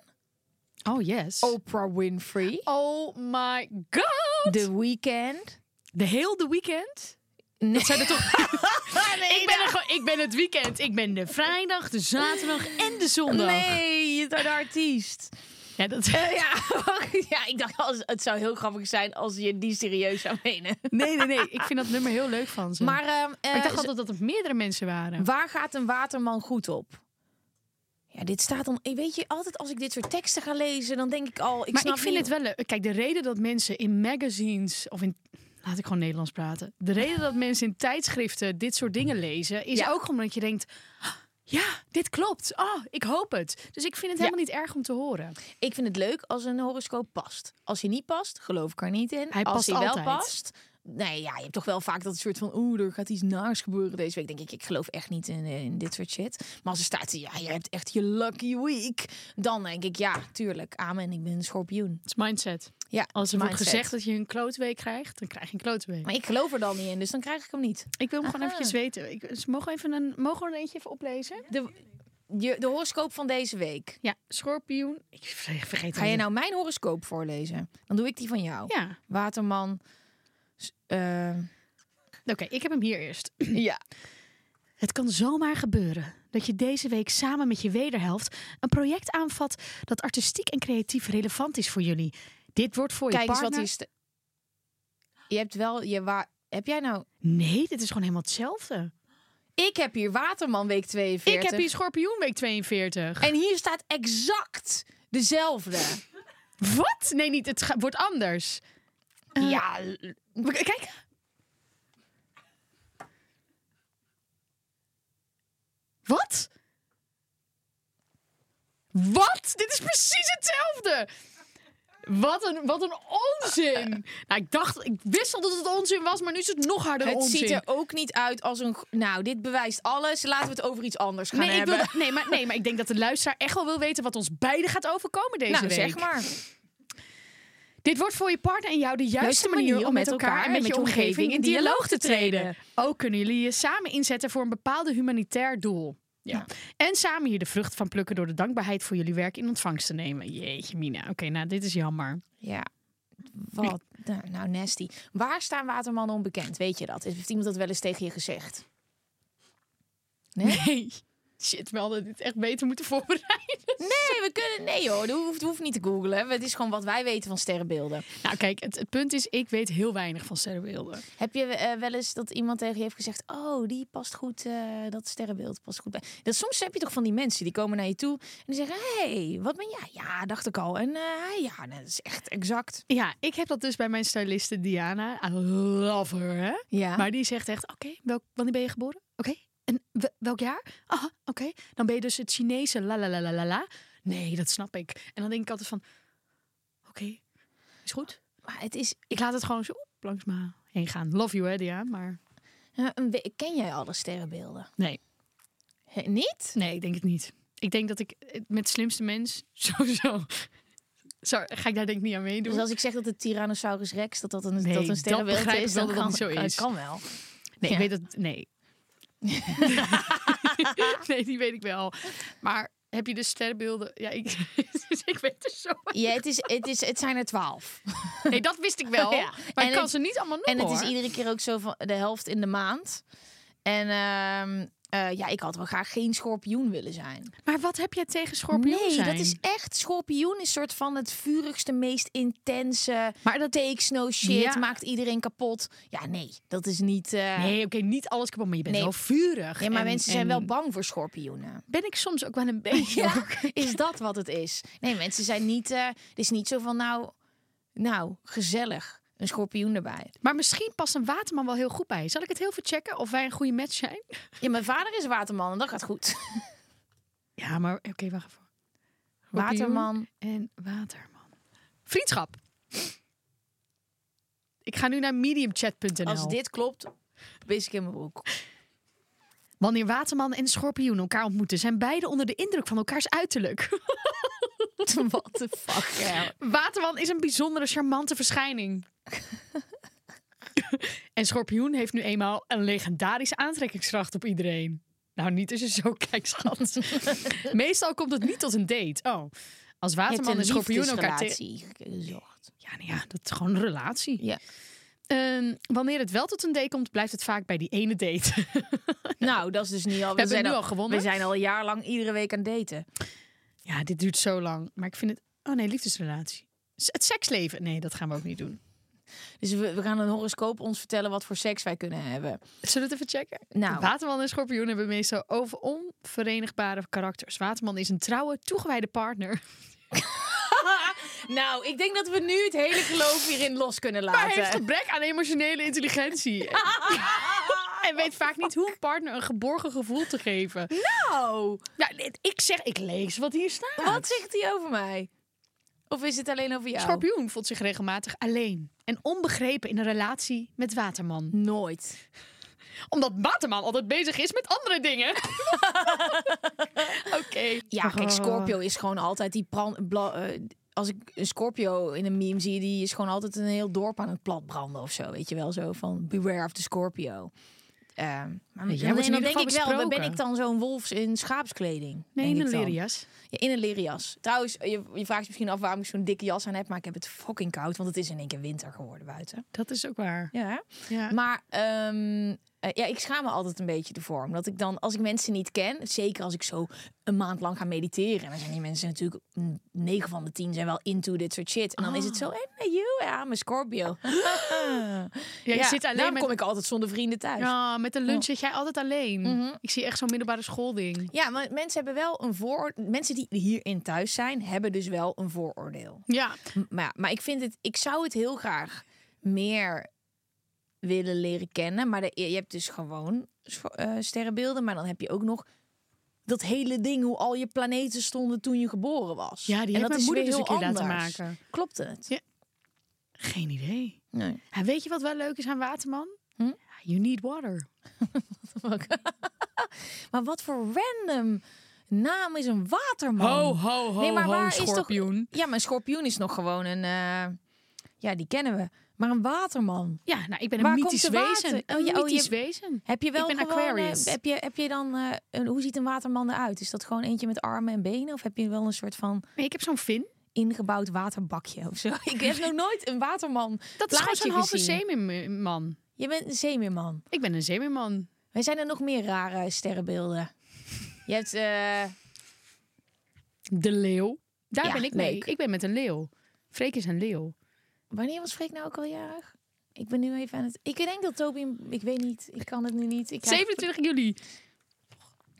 Oh, yes.
Oprah Winfrey,
Oh my god!
The Weeknd.
De heel de weekend?
Nee.
Zijn er toch... ik, ben
nou.
er gewoon, ik ben het weekend. Ik ben de vrijdag, de zaterdag en de zondag.
Nee, je bent een artiest.
Ja, dat...
Eh, ja. ja, ik dacht als, het zou heel grappig zijn als je die serieus zou menen.
nee, nee, nee. Ik vind dat nummer heel leuk van ze.
Maar, ehm, eh,
Maar ik dacht altijd dat het meerdere mensen waren.
Waar gaat een waterman goed op? Ja, dit staat dan. eh, Weet je, altijd als ik dit soort teksten ga lezen, dan denk ik al. Ik
maar
snap
ik vind
niet-
het wel leuk. Kijk, de reden dat mensen in magazines of in. Laat ik gewoon Nederlands praten. De reden dat mensen in tijdschriften dit soort dingen lezen, is
Ja.
ook omdat je denkt. "Ah, Ja, dit klopt. Oh, ik hoop het. Dus ik vind het helemaal niet erg om te horen.
Ik vind het leuk als een horoscoop past. Als hij niet past, geloof ik er niet in.
Hij
als
past
hij wel
altijd.
past. Nee, ja, je hebt toch wel vaak dat soort van. Oeh, er gaat iets naars gebeuren deze week. Denk ik, ik geloof echt niet in, eh, in dit soort shit. Maar als er staat, ja, je hebt echt je lucky week. Dan denk ik, ja, tuurlijk. Amen, ik ben een schorpioen.
Het is mindset.
Ja,
Als er wordt
mindset.
gezegd dat je een klootweek krijgt, dan krijg je een klootweek.
Maar ik geloof er dan niet in, dus dan krijg ik hem niet.
Ik wil hem gewoon
Aha.
eventjes weten. Ik, dus mogen, we even een, mogen we er eentje even oplezen?
De, je, de horoscoop van deze week.
Ja, schorpioen. Ik ver- vergeet
Ga je
hem.
nou mijn horoscoop voorlezen? Dan doe ik die van jou.
Ja,
Waterman. s- eh,
oké, ik heb hem hier eerst.
ja.
Het kan zomaar gebeuren dat je deze week samen met je wederhelft een project aanvat dat artistiek en creatief relevant is voor jullie. Dit wordt voor
Kijk
je
eens wat
partner.
hier sta- Je hebt wel je waar. Heb jij nou?
Nee, dit is gewoon helemaal hetzelfde.
Ik heb hier Waterman week 42.
Ik heb hier schorpioen week 42.
En hier staat exact dezelfde.
Wat? Nee, niet. Het ga- wordt anders. Eh,
ja.
We- Kijk. Wat? Wat? Dit is precies hetzelfde. Wat een, wat een onzin. Nou, ik dacht, ik wist al dat het onzin was, maar nu is het nog harder
Het
onzin.
ziet er ook niet uit als een. go- Nou, dit bewijst alles. Laten we het over iets anders gaan
nee, ik
hebben.
wil dat- nee, maar, nee, maar ik denk dat de luisteraar echt wel wil weten wat ons beiden gaat overkomen deze
nou,
week.
zeg maar.
Dit wordt voor je partner en jou de juiste manier om met elkaar en met je omgeving in dialoog te treden. Ook kunnen jullie je samen inzetten voor een bepaalde humanitair doel. Ja. En samen hier de vrucht van plukken door de dankbaarheid voor jullie werk in ontvangst te nemen. Jeetje, Mina. Oké, nou, dit is jammer.
Ja. Wat? Nou, nou, nasty. Waar staan watermannen onbekend? Weet je dat? Heeft iemand dat wel eens tegen je gezegd? Nee?
Nee. Shit, wel dat dit echt beter moeten voorbereiden.
Nee, we kunnen. Nee, hoor. Dat hoeft, hoeft niet te googlen. Het is gewoon wat wij weten van sterrenbeelden.
Nou, kijk, het, het punt is, ik weet heel weinig van sterrenbeelden.
Heb je eh, wel eens dat iemand tegen je heeft gezegd: Oh, die past goed, eh, dat sterrenbeeld past goed bij. Dat, soms heb je toch van die mensen die komen naar je toe en die zeggen: hey, wat ben jij? Ja, dacht ik al. En eh, hij, ja, nou, dat is echt exact.
Ja, ik heb dat dus bij mijn styliste Diana. I love her, hè?
Ja.
Maar die zegt echt, oké, welk, wanneer ben je geboren? Oké, en we- welk jaar? Ah, oké. Dan ben je dus het Chinese la la la la la la. Nee, dat snap ik. En dan denk ik altijd van, oké, is goed.
Maar het is.
Ik laat het gewoon zo langs me heen gaan. Love you, hè, Dia, maar
eh, een we- ken jij alle sterrenbeelden?
nee.
Hè, niet?
Nee, ik denk het niet. Ik denk dat ik eh, met slimste mens sowieso... Sorry, ga ik daar denk ik niet aan meedoen.
Dus als ik zeg dat het Tyrannosaurus Rex dat dat een,
Nee,
dat een
dat
sterrenbeeld
begrijp ik
is,
wel
dan
dat
kan,
dat niet zo
kan-
is.
kan wel.
Nee,
Ja.
ik weet dat. Nee. nee, die weet ik wel. Maar heb je dus sterrenbeelden? Ja, ik, dus ik weet er zo.
Ja, het, is, het, is, het zijn er twaalf.
Nee, dat wist ik wel.
Ja.
Maar
En
ik kan
het-
ze niet allemaal
En
noemen.
het is
hoor.
iedere keer ook zo van de helft in de maand. En ehm, eh, ja, ik had wel graag geen schorpioen willen zijn.
Maar wat heb jij tegen schorpioen
nee,
zijn?
dat is echt. Schorpioen is soort van het vurigste, meest intense.
Maar dat
Takes no shit,
Ja.
maakt iedereen kapot. Ja, nee, dat is niet. eh,
Nee, oké, niet alles kapot, maar je bent
Nee.
wel vurig.
Ja, maar
En-
mensen zijn
en
wel bang voor schorpioenen.
Ben ik soms ook wel een beetje.
Ja,
hoor.
is dat wat het is? Nee, mensen zijn niet. eh, het is niet zo van nou, nou, gezellig. Een schorpioen erbij.
Maar misschien past een waterman wel heel goed bij. Zal ik het heel veel checken of wij een goede match zijn?
Ja, mijn vader is waterman en dat gaat goed.
Ja, maar oké, wacht even. Schorpioen
Waterman.
En waterman. Vriendschap. Ik ga nu naar mediumchat.nl.
Als dit klopt, wist ik in mijn broek.
Wanneer waterman en schorpioen elkaar ontmoeten, zijn beide onder de indruk van elkaars uiterlijk.
What the fuck, hell?
Waterman is een bijzondere, charmante verschijning. en schorpioen heeft nu eenmaal een legendarische aantrekkingskracht op iedereen. Nou, niet als je zo kijkt, schat. Meestal komt het niet tot een date. Oh, als
Je hebt een
waterman en schorpioen elkaar tegen...
liefdesrelatie gezocht.
Ja, nou ja, dat is gewoon een relatie.
Ja.
Ehm, wanneer het wel tot een date komt, blijft het vaak bij die ene date.
Nou, dat is dus niet al. We
Hebben we
zijn
nu al gewonnen?
We zijn al een jaar lang iedere week aan daten.
ja, dit duurt zo lang. Maar ik vind het... Oh nee, liefdesrelatie. S- Het seksleven. Nee, dat gaan we ook niet doen.
Dus we, we gaan een horoscoop ons vertellen wat voor seks wij kunnen hebben.
Zullen we het even checken?
Nou.
Waterman en schorpioen hebben meestal over onverenigbare karakters. Waterman is een trouwe, toegewijde partner.
Nou, ik denk dat we nu het hele geloof hierin los kunnen
Maar heeft
laten.
gebrek aan emotionele intelligentie. En- en weet vaak niet hoe een partner een geborgen gevoel te geven.
Nou,
Ja, ik zeg, ik lees wat hier staat.
wat zegt hij over mij? Of is het alleen over jou?
Schorpioen voelt zich regelmatig alleen en onbegrepen in een relatie met Waterman.
Nooit.
Omdat Waterman altijd bezig is met andere dingen. Oké.
Ja, kijk, Scorpio is gewoon altijd die brand. eh, als ik een Scorpio in een meme zie, die is gewoon altijd een heel dorp aan het platbranden of zo. Weet je wel, zo van beware of the Scorpio. Eh, maar
Jij
dan,
wordt in
dan
ieder
denk
geval
ik wel, dan ben
besproken.
ik dan zo'n wolfs in schaapskleding?
Nee,
denk
in een
ik dan.
leren jas.
Ja, in een leren jas. Trouwens, je, je vraagt je misschien af waarom ik zo'n dikke jas aan heb, maar ik heb het fucking koud, want het is in één keer winter geworden buiten.
Dat is ook waar.
Ja. hè?
Ja.
Maar ehm, eh, ja, ik schaam me altijd een beetje ervoor. Omdat ik dan, als ik mensen niet ken, zeker als ik zo een maand lang ga mediteren. En dan zijn die mensen natuurlijk, mm, negen van de tien zijn wel into dit soort shit. En dan is het
Ah.
zo, hey, you, ja, mijn Scorpio. ja,
je zit alleen
daarom
met-
kom ik altijd zonder vrienden thuis. Ja.
Ja, Mhm. met een lunch zit jij altijd alleen. Ik zie echt zo'n middelbare schoolding.
maar mensen hebben wel een vooroordeel. Mensen die hierin thuis zijn, hebben dus wel een vooroordeel.
Ja,
M- Maar, ja, maar ik vind het, ik zou het heel graag meer willen leren kennen. Maar de, je hebt dus gewoon scho- eh, sterrenbeelden, maar dan heb je ook nog dat hele ding hoe al je planeten stonden toen je geboren was.
Ja, die heeft
en dat
mijn
is
moeder
weer
dus
heel
een keer laten
anders.
maken.
Klopt het?
Ja. geen idee.
Nee.
En weet je wat wel leuk is aan Waterman?
Hm?
You need water.
Maar wat voor random naam is een waterman?
ho, ho,
Nee, maar waar is toch- Ja, maar een schorpioen is nog gewoon een. eh, ja, die kennen we. Maar een waterman.
Ja, nou, ik ben een
Waar komt
mythisch
de water?
wezen.
Oh, ja,
Een
oh,
mythisch
je-
wezen.
Heb je wel
Ik ben
gewoon, eh,
Aquarius.
heb, je, heb je dan, eh, een- hoe ziet een waterman eruit? Is dat gewoon eentje met armen en benen? Of heb je wel een soort van
Nee, ik heb zo'n vin.
ingebouwd waterbakje of zo? Ik heb nog nooit een waterman
Dat is gewoon
plaatje
zo'n halve
gezien.
zeemerman.
Je bent een zeemeerman.
Ik ben een zeemerman.
Wij zijn er nog meer rare sterrenbeelden. Je hebt, eh,
De leeuw. Daar
Ja,
ben ik mee.
leuk.
Ik ben met een leeuw. Freek is een leeuw.
wanneer was Freek nou ook al jarig? Ik ben nu even aan het... Ik denk dat Toby... Ik weet niet. Ik kan het nu niet. Ik krijg-
27 juli.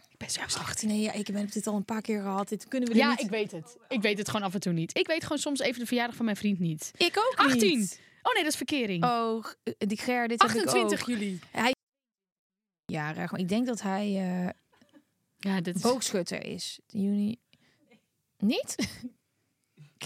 Ik ben zo slecht.
Ach, nee, ja, ik heb dit al een paar keer gehad. Dit kunnen we er
Ja,
niet...
ik weet het. Ik weet het gewoon af en toe niet. Ik weet gewoon soms even de verjaardag van mijn vriend niet.
ik ook
18.
niet.
Oh nee, dat is verkering.
Oh, die Ger, dit heb ik
28
ook.
juli.
jarig. Maar ik denk dat hij eh,
Ja, dit is...
boogschutter is. Juni. Niet?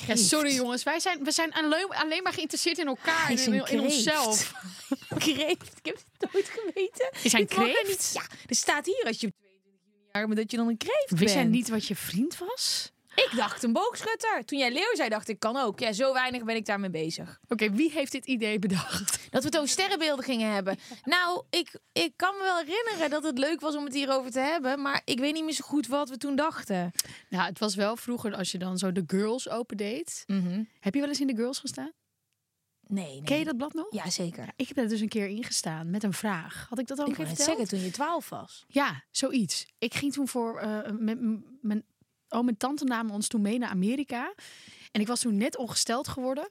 Ja, sorry jongens, wij zijn, we zijn alleen, alleen maar geïnteresseerd in elkaar
Hij
en
is
in,
een
in
kreeft.
onszelf.
Kreeft. Ik heb het nooit geweten.
Is hij een
Dit mag er
kreeft?
niet- Ja, er staat hier als je op 22 juni jarig bent dat je dan een kreeft
Wist jij
bent.
niet wat je vriend was?
Ik dacht een boogschutter. Toen jij leeuw zei, dacht ik kan ook. Ja, zo weinig ben ik daarmee bezig.
Oké, wie heeft dit idee bedacht?
Dat we het over sterrenbeelden gingen hebben. Nou, ik, ik kan me wel herinneren dat het leuk was om het hierover te hebben. Maar ik weet niet meer zo goed wat we toen dachten.
Nou, het was wel vroeger als je dan zo de girls opendeed.
Mhm.
Heb je wel eens in de girls gestaan?
Nee, nee.
Ken je dat blad nog?
Ja, zeker.
Ik heb daar dus een keer ingestaan met een vraag. Had ik dat al een
Ik
keer
wou net
verteld?
zeggen, toen je 12 was.
Ja, zoiets. Ik ging toen voor. eh, met m- mijn oom en tante namen ons toen mee naar Amerika. En ik was toen net ongesteld geworden.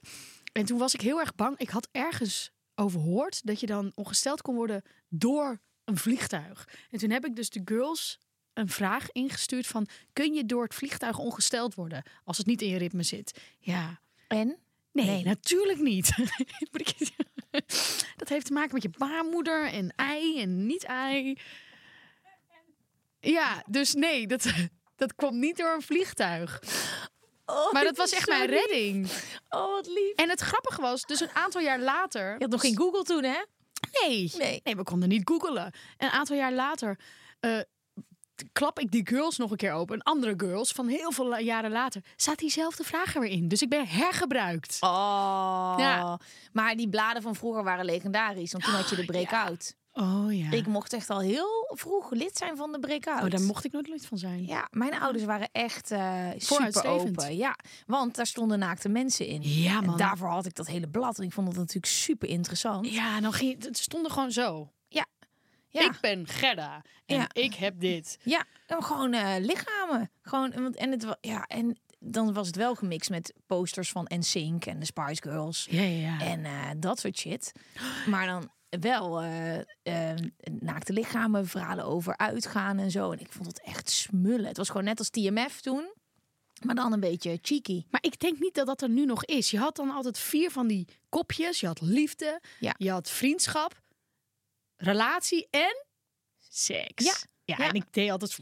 En toen was ik heel erg bang. Ik had ergens overhoord dat je dan ongesteld kon worden door een vliegtuig. En toen heb ik dus de girls een vraag ingestuurd van... kun je door het vliegtuig ongesteld worden als het niet in je ritme zit? Ja,
En?
Nee, natuurlijk niet. Moet ik- dat heeft te maken met je baarmoeder en ei en niet-ei. Ja, dus nee, dat, dat kwam niet door een vliegtuig.
Oh,
Maar dat
dit
was
is
echt
zo
mijn
lief.
redding.
Oh, wat lief.
En het grappige was, dus een aantal jaar later...
Je had nog geen Google toen, hè?
Nee,
Nee.
nee we konden niet googelen. Een aantal jaar later eh, klap ik die girls nog een keer open. Een andere girls van heel veel la- jaren later. Staat diezelfde vraag er weer in. Dus ik ben hergebruikt.
Oh.
Ja.
Maar die bladen van vroeger waren legendarisch. Want toen had je de breakout.
Oh ja.
Ik mocht echt al heel vroeg lid zijn van de breakout.
Oh, daar mocht ik nooit lid van zijn.
Ja, mijn ouders waren echt eh super
Vooruitstrevend.
open. Ja, want daar stonden naakte mensen in.
Ja,
En
man.
daarvoor had ik dat hele blad. En ik vond dat natuurlijk super interessant.
Ja, dan ging, het stonden gewoon zo.
Ja,
Ik ben Gerda en
Ja.
ik heb dit.
ja en gewoon eh, lichamen. Gewoon, want, en, het, wa- ja, en dan was het wel gemixt met posters van NSYNC en de Spice Girls.
Ja, ja,
En eh, dat soort shit. Maar dan wel eh, eh, naakte lichamen, verhalen over uitgaan en zo. En ik vond het echt smullen. Het was gewoon net als TMF toen. Maar dan een beetje cheeky.
Maar ik denk niet dat dat er nu nog is. Je had dan altijd vier van die kopjes. Je had liefde,
Ja.
je had vriendschap, relatie en seks.
Ja,
Ja,
ja.
en ik deed altijd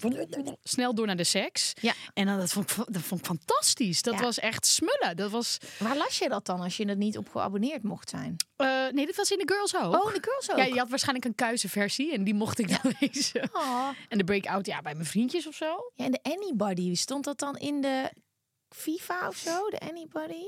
snel door naar de seks.
Ja.
En dan, dat, vond ik, dat vond ik fantastisch. Dat
Ja.
was echt smullen. Dat was,
Waar las je dat dan als je er niet op geabonneerd mocht zijn?
eh, nee, dit was in de Girls ook.
Oh, de girls ook.
Ja, je had waarschijnlijk een kuizenversie en die mocht ik dan lezen.
Oh.
En de breakout, ja, bij mijn vriendjes of zo.
Ja, en de Anybody, stond dat dan in de FIFA of zo? De Anybody?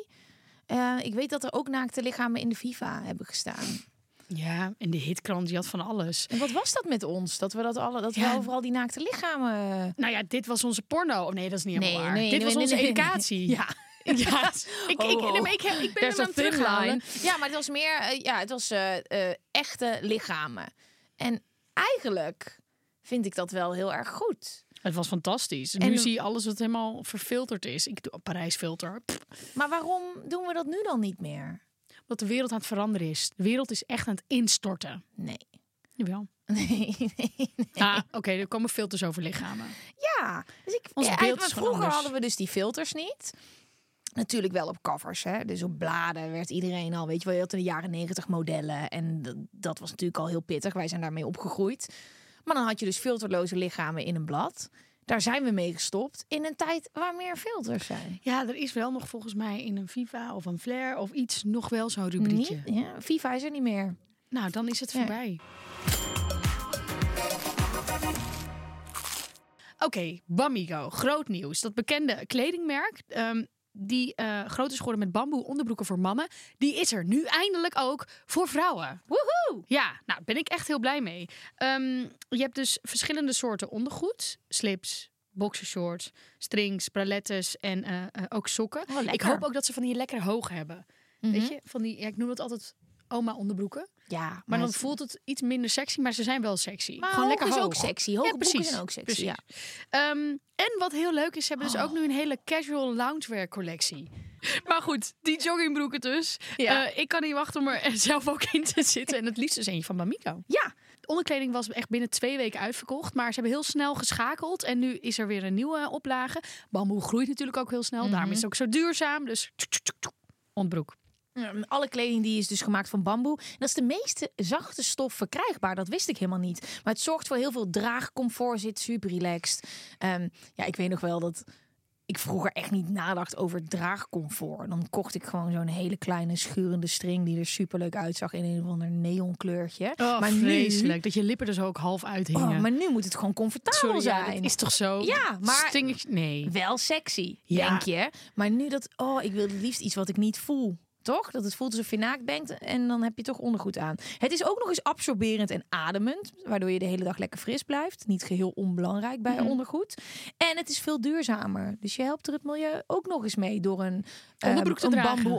Eh, ik weet dat er ook naakte lichamen in de FIFA hebben gestaan.
Ja, en de hitkrant, die had van alles.
En wat was dat met ons? Dat we dat alle, dat
Ja.
we overal die naakte lichamen.
Nou ja, dit was onze porno. Oh nee, dat is niet helemaal
Nee,
waar.
nee,
dit
nee,
was
nee,
onze
nee, nee.
educatie. Ja. ja. Oh. Ik, ik,
Ho, ho.
nee, maar ik, heb- ik ben
There's
hem
a
aan het
thin
terughalen.
line. Ja, maar het was meer, eh, ja, het was eh, eh, echte lichamen. En eigenlijk vind ik dat wel heel erg goed.
Het was fantastisch. En
En
nu
nu-
zie je alles wat helemaal verfilterd is. Ik doe Parijsfilter. Pff,
Maar waarom doen we dat nu dan niet meer?
Wat de wereld aan het veranderen is. De wereld is echt aan het instorten.
Nee.
Jawel.
Nee, nee, nee.
Ah, oké, er komen filters over lichamen.
Ja, dus ik,
Ons
ja,
beeld
maar
is gewoon
vroeger
anders.
hadden we dus die filters niet. Natuurlijk wel op covers, hè? dus op bladen werd iedereen al, weet je wel, je had in de jaren negentig modellen en dat, dat was natuurlijk al heel pittig. Wij zijn daarmee opgegroeid. Maar dan had je dus filterloze lichamen in een blad. Daar zijn we mee gestopt in een tijd waar meer filters zijn.
Ja, er is wel nog volgens mij in een Viva of een Flair of iets nog wel zo'n rubriekje.
Niet- ja, FIFA is er niet meer.
Nou, dan is het
Ja.
voorbij. Oké, Bamigo, groot nieuws. Dat bekende kledingmerk ehm, die eh groot is geworden met bamboe onderbroeken voor mannen, die is er nu eindelijk ook voor vrouwen.
Woehoe!
Ja, nou ben ik echt heel blij mee. Ehm, je hebt dus verschillende soorten ondergoed: slips, boxershorts, strings, bralettes en eh, eh, ook sokken.
Oh, lekker. Mhm.
ik hoop ook dat ze van die lekker hoog hebben. Weet je, van die, ja, ik noem dat altijd oma onderbroeken.
Ja,
Maar dan
het-
voelt het iets minder sexy, maar ze zijn wel sexy.
Maar
Gewoon
hoog
lekker
is
hoog.
ook sexy. Hoge
ja,
broeken
precies.
zijn ook sexy,
Precies.
ja.
Ehm, en wat heel leuk is, ze hebben dus ook nu een hele casual loungewear collectie. Maar goed, die joggingbroeken dus.
Ja.
Eh, ik kan niet wachten om er zelf ook in te zitten. En het liefst is eentje van Bamigo.
Ja,
De onderkleding was echt binnen twee weken uitverkocht. Maar ze hebben heel snel geschakeld. En nu is er weer een nieuwe oplage. Bamboe groeit natuurlijk ook heel snel. Daarom is het ook zo duurzaam. Dus ontbroek.
Mm, Alle kleding die is dus gemaakt van bamboe. En dat is de meeste zachte stof verkrijgbaar. Dat wist ik helemaal niet. Maar het zorgt voor heel veel draagcomfort. Zit super relaxed. Ehm, ja, ik weet nog wel dat ik vroeger echt niet nadacht over draagcomfort. Dan kocht ik gewoon zo'n hele kleine schurende string... die er super leuk uitzag in een of ander neonkleurtje.
Oh,
maar
vreselijk. Dat je lippen er zo ook half
Nu,
uithingen.
oh, maar nu moet het gewoon comfortabel
Sorry, ja,
zijn.
dat is toch zo?
Ja, maar-
Stingetje- nee.
Wel sexy,
Ja.
denk je. Maar nu dat... Oh, ik wil het liefst iets wat ik niet voel. Toch? Dat het voelt alsof je naakt bent en dan heb je toch ondergoed aan. Het is ook nog eens absorberend en ademend. Waardoor je de hele dag lekker fris blijft. Niet geheel onbelangrijk bij
Mhm.
ondergoed. En het is veel duurzamer. Dus je helpt er het milieu ook nog eens mee door een, eh,
Onderbroek te
een
dragen.
bamboe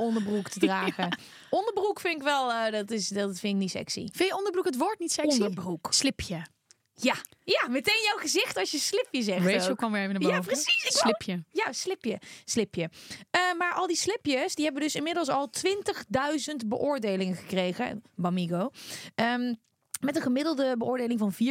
onderbroek te dragen. Onderbroek vind ik wel... eh, dat, is, dat vind ik niet sexy.
Vind je onderbroek het woord niet sexy?
Onderbroek.
Slipje.
Ja. ja, meteen jouw gezicht als je slipje zegt.
Rachel
ook.
kwam weer even naar boven.
Ja, precies. Ik wou-
Slipje.
Ja, slipje. slipje. Eh, maar al die slipjes, die hebben dus inmiddels al 20.000 beoordelingen gekregen. Bamigo. Ehm, met een gemiddelde beoordeling van 4,6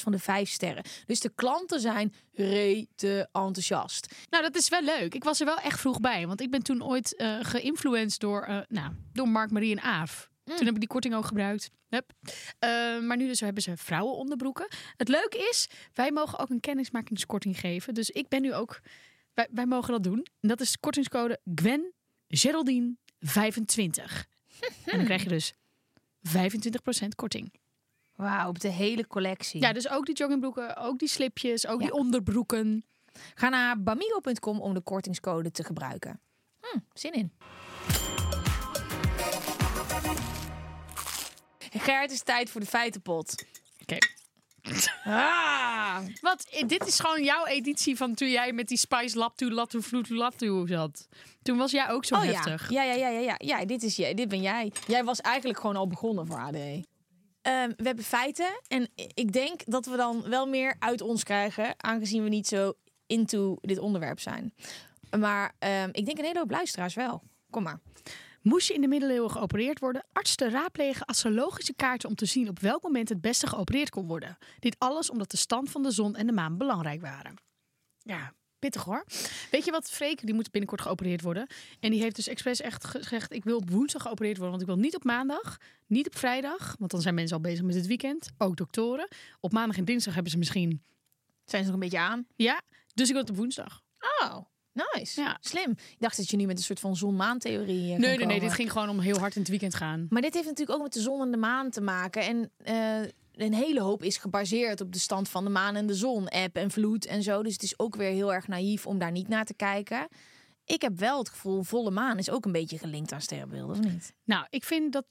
van de 5 sterren. Dus de klanten zijn rete enthousiast.
Nou, dat is wel leuk. Ik was er wel echt vroeg bij. Want ik ben toen ooit eh geïnfluenced door, eh, nou, door Mark, Marie en Aaf. Toen heb ik die korting ook gebruikt. Hup. Eh, maar nu dus hebben ze vrouwenonderbroeken. Het leuke is, wij mogen ook een kennismakingskorting geven. Dus ik ben nu ook... Wij, wij mogen dat doen. En dat is de kortingscode Gwen Geraldine 25. en dan krijg je dus 25% korting.
Wauw, op de hele collectie.
Ja, dus ook die joggingbroeken, ook die slipjes, ook
Ja.
die onderbroeken.
Ga naar bamigo.com om de kortingscode te gebruiken. Hm, zin in. Gert, het is tijd voor de feitenpot.
Oké.
Ah!
Wat? eh, Dit is gewoon jouw editie van toen jij met die Spice Laptoe, Laptoe, Vloed, Laptoe zat. Toen was jij ook zo
Oh ja.
Oh, heftig.
Ja, ja, ja, ja, ja. ja dit, is jij, dit ben jij. Jij was eigenlijk gewoon al begonnen voor AD. Ehm, we hebben feiten en i- ik denk dat we dan wel meer uit ons krijgen, aangezien we niet zo into dit onderwerp zijn. Maar ehm, ik denk een hele hoop luisteraars wel. Kom maar.
Moest je in de middeleeuwen geopereerd worden, artsen raadplegen astrologische kaarten om te zien op welk moment het beste geopereerd kon worden. Dit alles omdat de stand van de zon en de maan belangrijk waren. Ja, pittig hoor. Weet je wat, Freek, die moet binnenkort geopereerd worden. En die heeft dus expres echt gezegd, ik wil op woensdag geopereerd worden, want ik wil niet op maandag, niet op vrijdag, want dan zijn mensen al bezig met het weekend, ook doktoren. Op maandag en dinsdag hebben ze misschien
Zijn ze nog een beetje aan?
Ja, dus ik wil het op woensdag.
Oh, nice.
Ja.
Slim. Ik dacht dat je nu met een soort van zon-maan-theorie. eh, kon
Nee, nee, nee,
komen.
dit ging gewoon om heel hard in het weekend gaan.
Maar dit heeft natuurlijk ook met de zon en de maan te maken. En eh, een hele hoop is gebaseerd op de stand van de maan en de zon. App en vloed en zo. Dus het is ook weer heel erg naïef om daar niet naar te kijken. Ik heb wel het gevoel, volle maan is ook een beetje gelinkt aan sterrenbeelden, of niet?
Nou, ik vind dat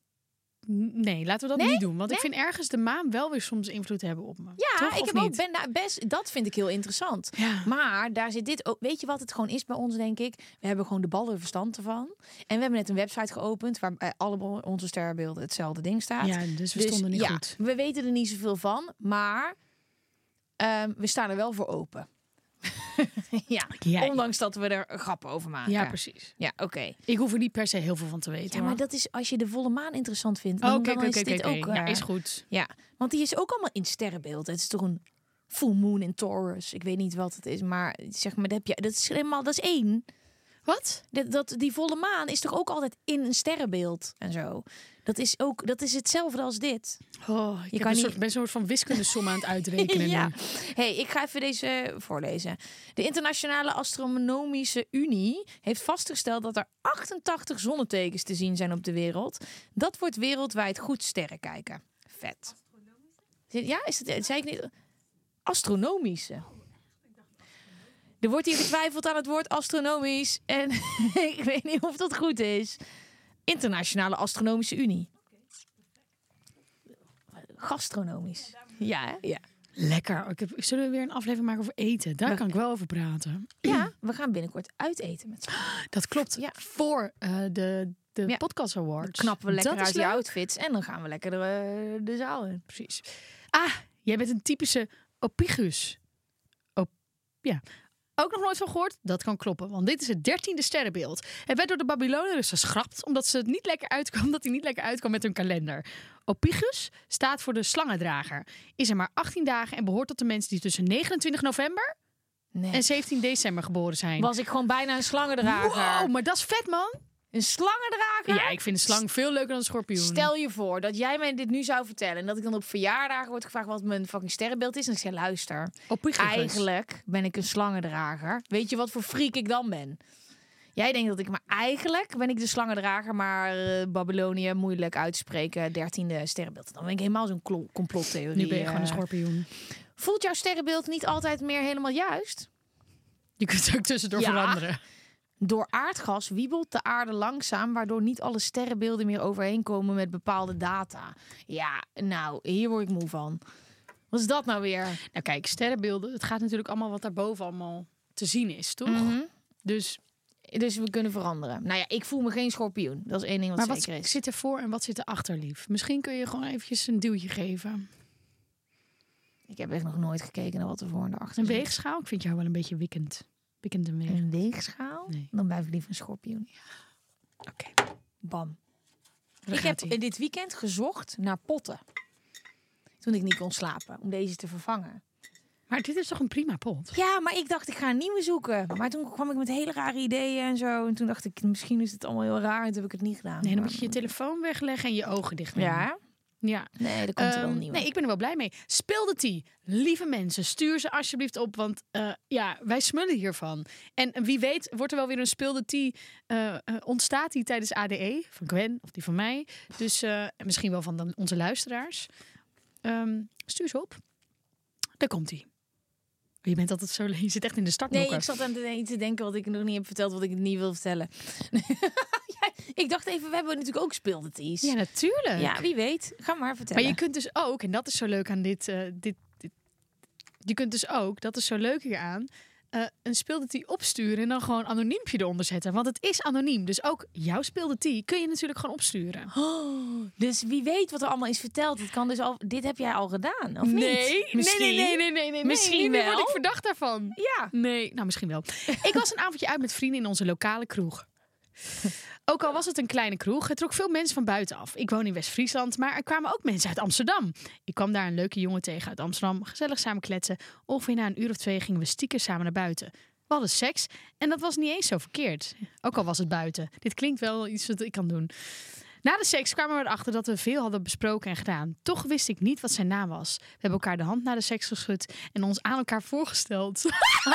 n- nee, laten we dat
Nee?
niet doen. Want ik
Nee?
vind ergens de maan wel weer soms invloed hebben op me.
Ja,
Toch,
ik
of
heb ook,
niet?
ben daar best. Dat vind ik heel interessant.
Ja.
Maar daar zit dit ook. Weet je wat het gewoon is bij ons, denk ik? We hebben gewoon de ballen verstand ervan. En we hebben net een website geopend waar eh, alle onze sterrenbeelden hetzelfde ding staat.
Ja, dus we stonden niet
ja,
goed.
We weten er niet zoveel van, maar ehm, we staan er wel voor open. ja,
Jij.
ondanks dat we er grappen over maken.
Ja, precies.
Ja, oké.
Ik hoef er niet per se heel veel van te weten.
Ja, maar
hoor.
dat is als je de volle maan interessant vindt.
Oh,
Dan,
Oké,
dan
oké,
is
oké,
dit
oké.
ook.
Ja,
eh,
is goed.
ja, want die is ook allemaal in sterrenbeelden. Het is toch een full moon in Taurus. Ik weet niet wat het is, maar zeg maar, dat, heb je, dat is helemaal, dat is één.
Wat?
Dat, dat, die volle maan is toch ook altijd in een sterrenbeeld en zo. Dat is ook, dat is hetzelfde als dit.
Oh, ik
Je
heb
kan
een
niet-
soort, ben een soort van wiskundesom aan het uitrekenen
ja.
nu.
Hey, ik ga even deze voorlezen. De Internationale Astronomische Unie heeft vastgesteld dat er 88 zonnetekens te zien zijn op de wereld. Dat wordt wereldwijd goed sterren kijken. Vet. Ja, is het, zei ik niet. Astronomische. Er wordt hier getwijfeld aan het woord astronomisch. En ik weet niet of dat goed is. Internationale Astronomische Unie. Gastronomisch. Ja, hè? ja.
Lekker. Oh, Ik heb, zullen we weer een aflevering maken over eten? Daar kan ik wel over praten.
Ja, we gaan binnenkort uiteten met z'n
Dat klopt.
Ja.
Voor eh, de, de
Ja.
Podcast Awards.
Knappen we lekker
Dat is
uit die
leuk.
outfits en dan gaan we lekker de, de zaal in.
Precies. Ah, jij bent een typische opigus. Op, ja. Ook nog nooit van gehoord? Dat kan kloppen, want dit is het dertiende sterrenbeeld. Het werd door de Babylonen dus geschrapt, omdat ze het niet lekker uitkwam, omdat hij niet lekker uitkwam met hun kalender. Opigus staat voor de slangendrager. Is er maar 18 dagen en behoort tot de mensen die tussen 29 november en
Nee.
17 december geboren zijn.
Was ik gewoon bijna een slangendrager.
Wow, maar dat is vet, man.
Een slangendrager?
Ja, ik vind een slang veel leuker dan een schorpioen.
Stel je voor dat jij mij dit nu zou vertellen. En dat ik dan op verjaardagen word gevraagd wat mijn fucking sterrenbeeld is. En ik zeg, luister,
Opigus.
eigenlijk ben ik een slangendrager. Weet je wat voor freak ik dan ben? Jij denkt dat ik, maar eigenlijk ben ik de slangendrager. Maar eh, Babylonië moeilijk uitspreken, dertiende sterrenbeeld. Dan ben ik helemaal zo'n klo- complottheorie.
Nu ben je gewoon een
eh,
schorpioen.
Voelt jouw sterrenbeeld niet altijd meer helemaal juist?
Je kunt het ook tussendoor
Ja.
veranderen.
Door aardgas wiebelt de aarde langzaam, waardoor niet alle sterrenbeelden meer overeenkomen met bepaalde data. Ja, nou, hier word ik moe van. Wat is dat nou weer?
Nou kijk, sterrenbeelden, het gaat natuurlijk allemaal wat daarboven allemaal te zien is, toch?
Mhm.
Dus,
Dus we kunnen veranderen. Nou ja, ik voel me geen schorpioen. Dat is één ding wat
maar wat
zeker is.
zit er voor en wat zit er achter, lief? Misschien kun je gewoon eventjes een duwtje geven.
Ik heb echt nog nooit gekeken naar wat er voor en achter
Een weegschaal? Ik vind jou wel een beetje wikkend. Wikkend en weeg.
Een weegschaal?
Nee.
Dan blijf ik liever een schorpioen.
Oké.
Bam.
Daar
ik heb
gaat-ie.
eh, dit weekend gezocht naar potten. Toen ik niet kon slapen, om deze te vervangen.
Maar dit is toch een prima pot?
Ja, maar ik dacht, ik ga een nieuwe zoeken. Maar toen kwam ik met hele rare ideeën en zo. En toen dacht ik, misschien is het allemaal heel raar. En toen heb ik het niet gedaan.
Nee, dan moet je je telefoon wegleggen en je ogen dicht doen.
Ja?
ja.
Nee, dat komt er wel
Ehm,
een nieuwe.
nee, ik ben er wel blij mee. Speel de tea. Lieve mensen, stuur ze alsjeblieft op. Want eh, ja, wij smullen hiervan. En wie weet wordt er wel weer een speel de tea. eh, eh, ontstaat die tijdens ADE? Van Gwen of die van mij. Dus eh, en misschien wel van dan onze luisteraars. Ehm, stuur ze op. Daar komt die. Je bent altijd zo... Je zit echt in de
Nee,
startblokken.
ik zat aan te te denken wat ik nog niet heb verteld, wat ik niet wil vertellen. Ja, ik dacht even, we hebben natuurlijk ook speeldeties.
Ja,
Ja,
natuurlijk.
wie weet. Ga maar
Maar
vertellen.
je kunt dus ook, en dat is zo leuk aan dit, eh, dit, dit- je kunt dus ook, dat is zo leuk hieraan, eh een speeldetee opsturen en dan gewoon anoniempje eronder zetten. Want het is anoniem, dus ook jouw speeldetee kun je natuurlijk gewoon opsturen.
Oh, dus wie weet wat er allemaal is verteld. Het kan dus al, dit heb jij al gedaan, of
Nee,
niet?
nee, nee, nee, nee, nee, nee, nee.
Misschien
Nu word
wel.
ik verdacht daarvan.
Ja.
Nee, nou misschien wel. Ik was een avondje uit met vrienden in onze lokale kroeg. Ook al was het een kleine kroeg, het trok veel mensen van buitenaf. Ik woon in West-Friesland, maar er kwamen ook mensen uit Amsterdam. Ik kwam daar een leuke jongen tegen uit Amsterdam, gezellig samen kletsen. Ongeveer na een uur of twee gingen we stiekem samen naar buiten. We hadden seks en dat was niet eens zo verkeerd. Ook al was het buiten. Dit klinkt wel iets wat ik kan doen. Na de seks kwamen we erachter dat we veel hadden besproken en gedaan. Toch wist ik niet wat zijn naam was. We hebben elkaar de hand na de seks geschud en ons aan elkaar voorgesteld.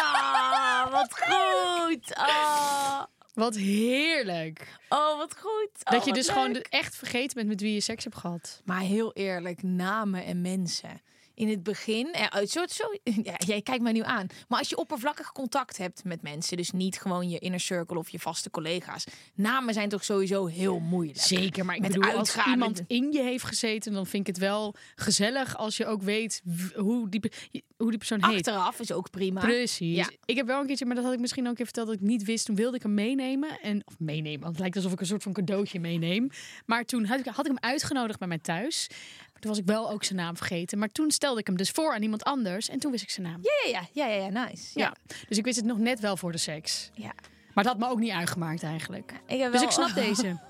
Ah, wat goed. Ah.
Wat heerlijk.
Oh, wat goed. Oh,
dat je
wat
dus gewoon
leuk.
de- echt vergeten bent met wie je seks hebt gehad.
Maar heel eerlijk, namen en mensen. in het begin. Ja, het soort- zo, ja, jij kijkt mij nu aan. Maar als je oppervlakkig contact hebt met mensen, dus niet gewoon je inner circle of je vaste collega's. Namen zijn toch sowieso heel moeilijk.
Zeker, maar ik
Met
bedoel, als
uitgaan,
iemand
met-
in je heeft gezeten, dan vind ik het wel gezellig als je ook weet w- hoe die, pe- hoe die persoon heet.
Achteraf is ook prima.
Precies.
Ja.
Ik heb wel een keertje, maar dat had ik misschien ook een keer verteld dat ik niet wist. Toen wilde ik hem meenemen. En, of meenemen, want het lijkt alsof ik een soort van cadeautje meeneem. Maar toen had ik, had ik hem uitgenodigd bij mij thuis. Maar toen was ik wel ook zijn naam vergeten. Maar toen stelde ik hem dus voor aan iemand anders. En toen wist ik zijn naam.
Ja, ja, ja, ja, ja, nice. Ja.
Ja. Dus ik wist het nog net wel voor de seks.
ja.
Maar dat had me ook niet uitgemaakt eigenlijk.
Ik heb
Dus
wel-
ik snap deze.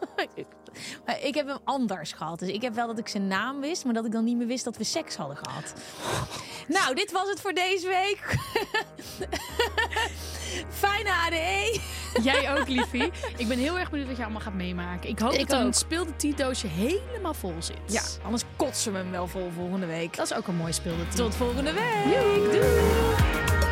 Maar ik heb hem anders gehad. Dus ik heb wel dat ik zijn naam wist, maar dat ik dan niet meer wist dat we seks hadden gehad. Nou, dit was het voor deze week. Fijne E. ADE.
Jij ook, liefie. Ik ben heel erg benieuwd wat je allemaal gaat meemaken. Ik hoop
Ik
dat dan
ook.
het speelde Tito'sje helemaal vol zit.
Ja, anders kotsen we hem wel vol volgende week.
Dat is ook een mooi speelde Tito.
Tot volgende week. Doei.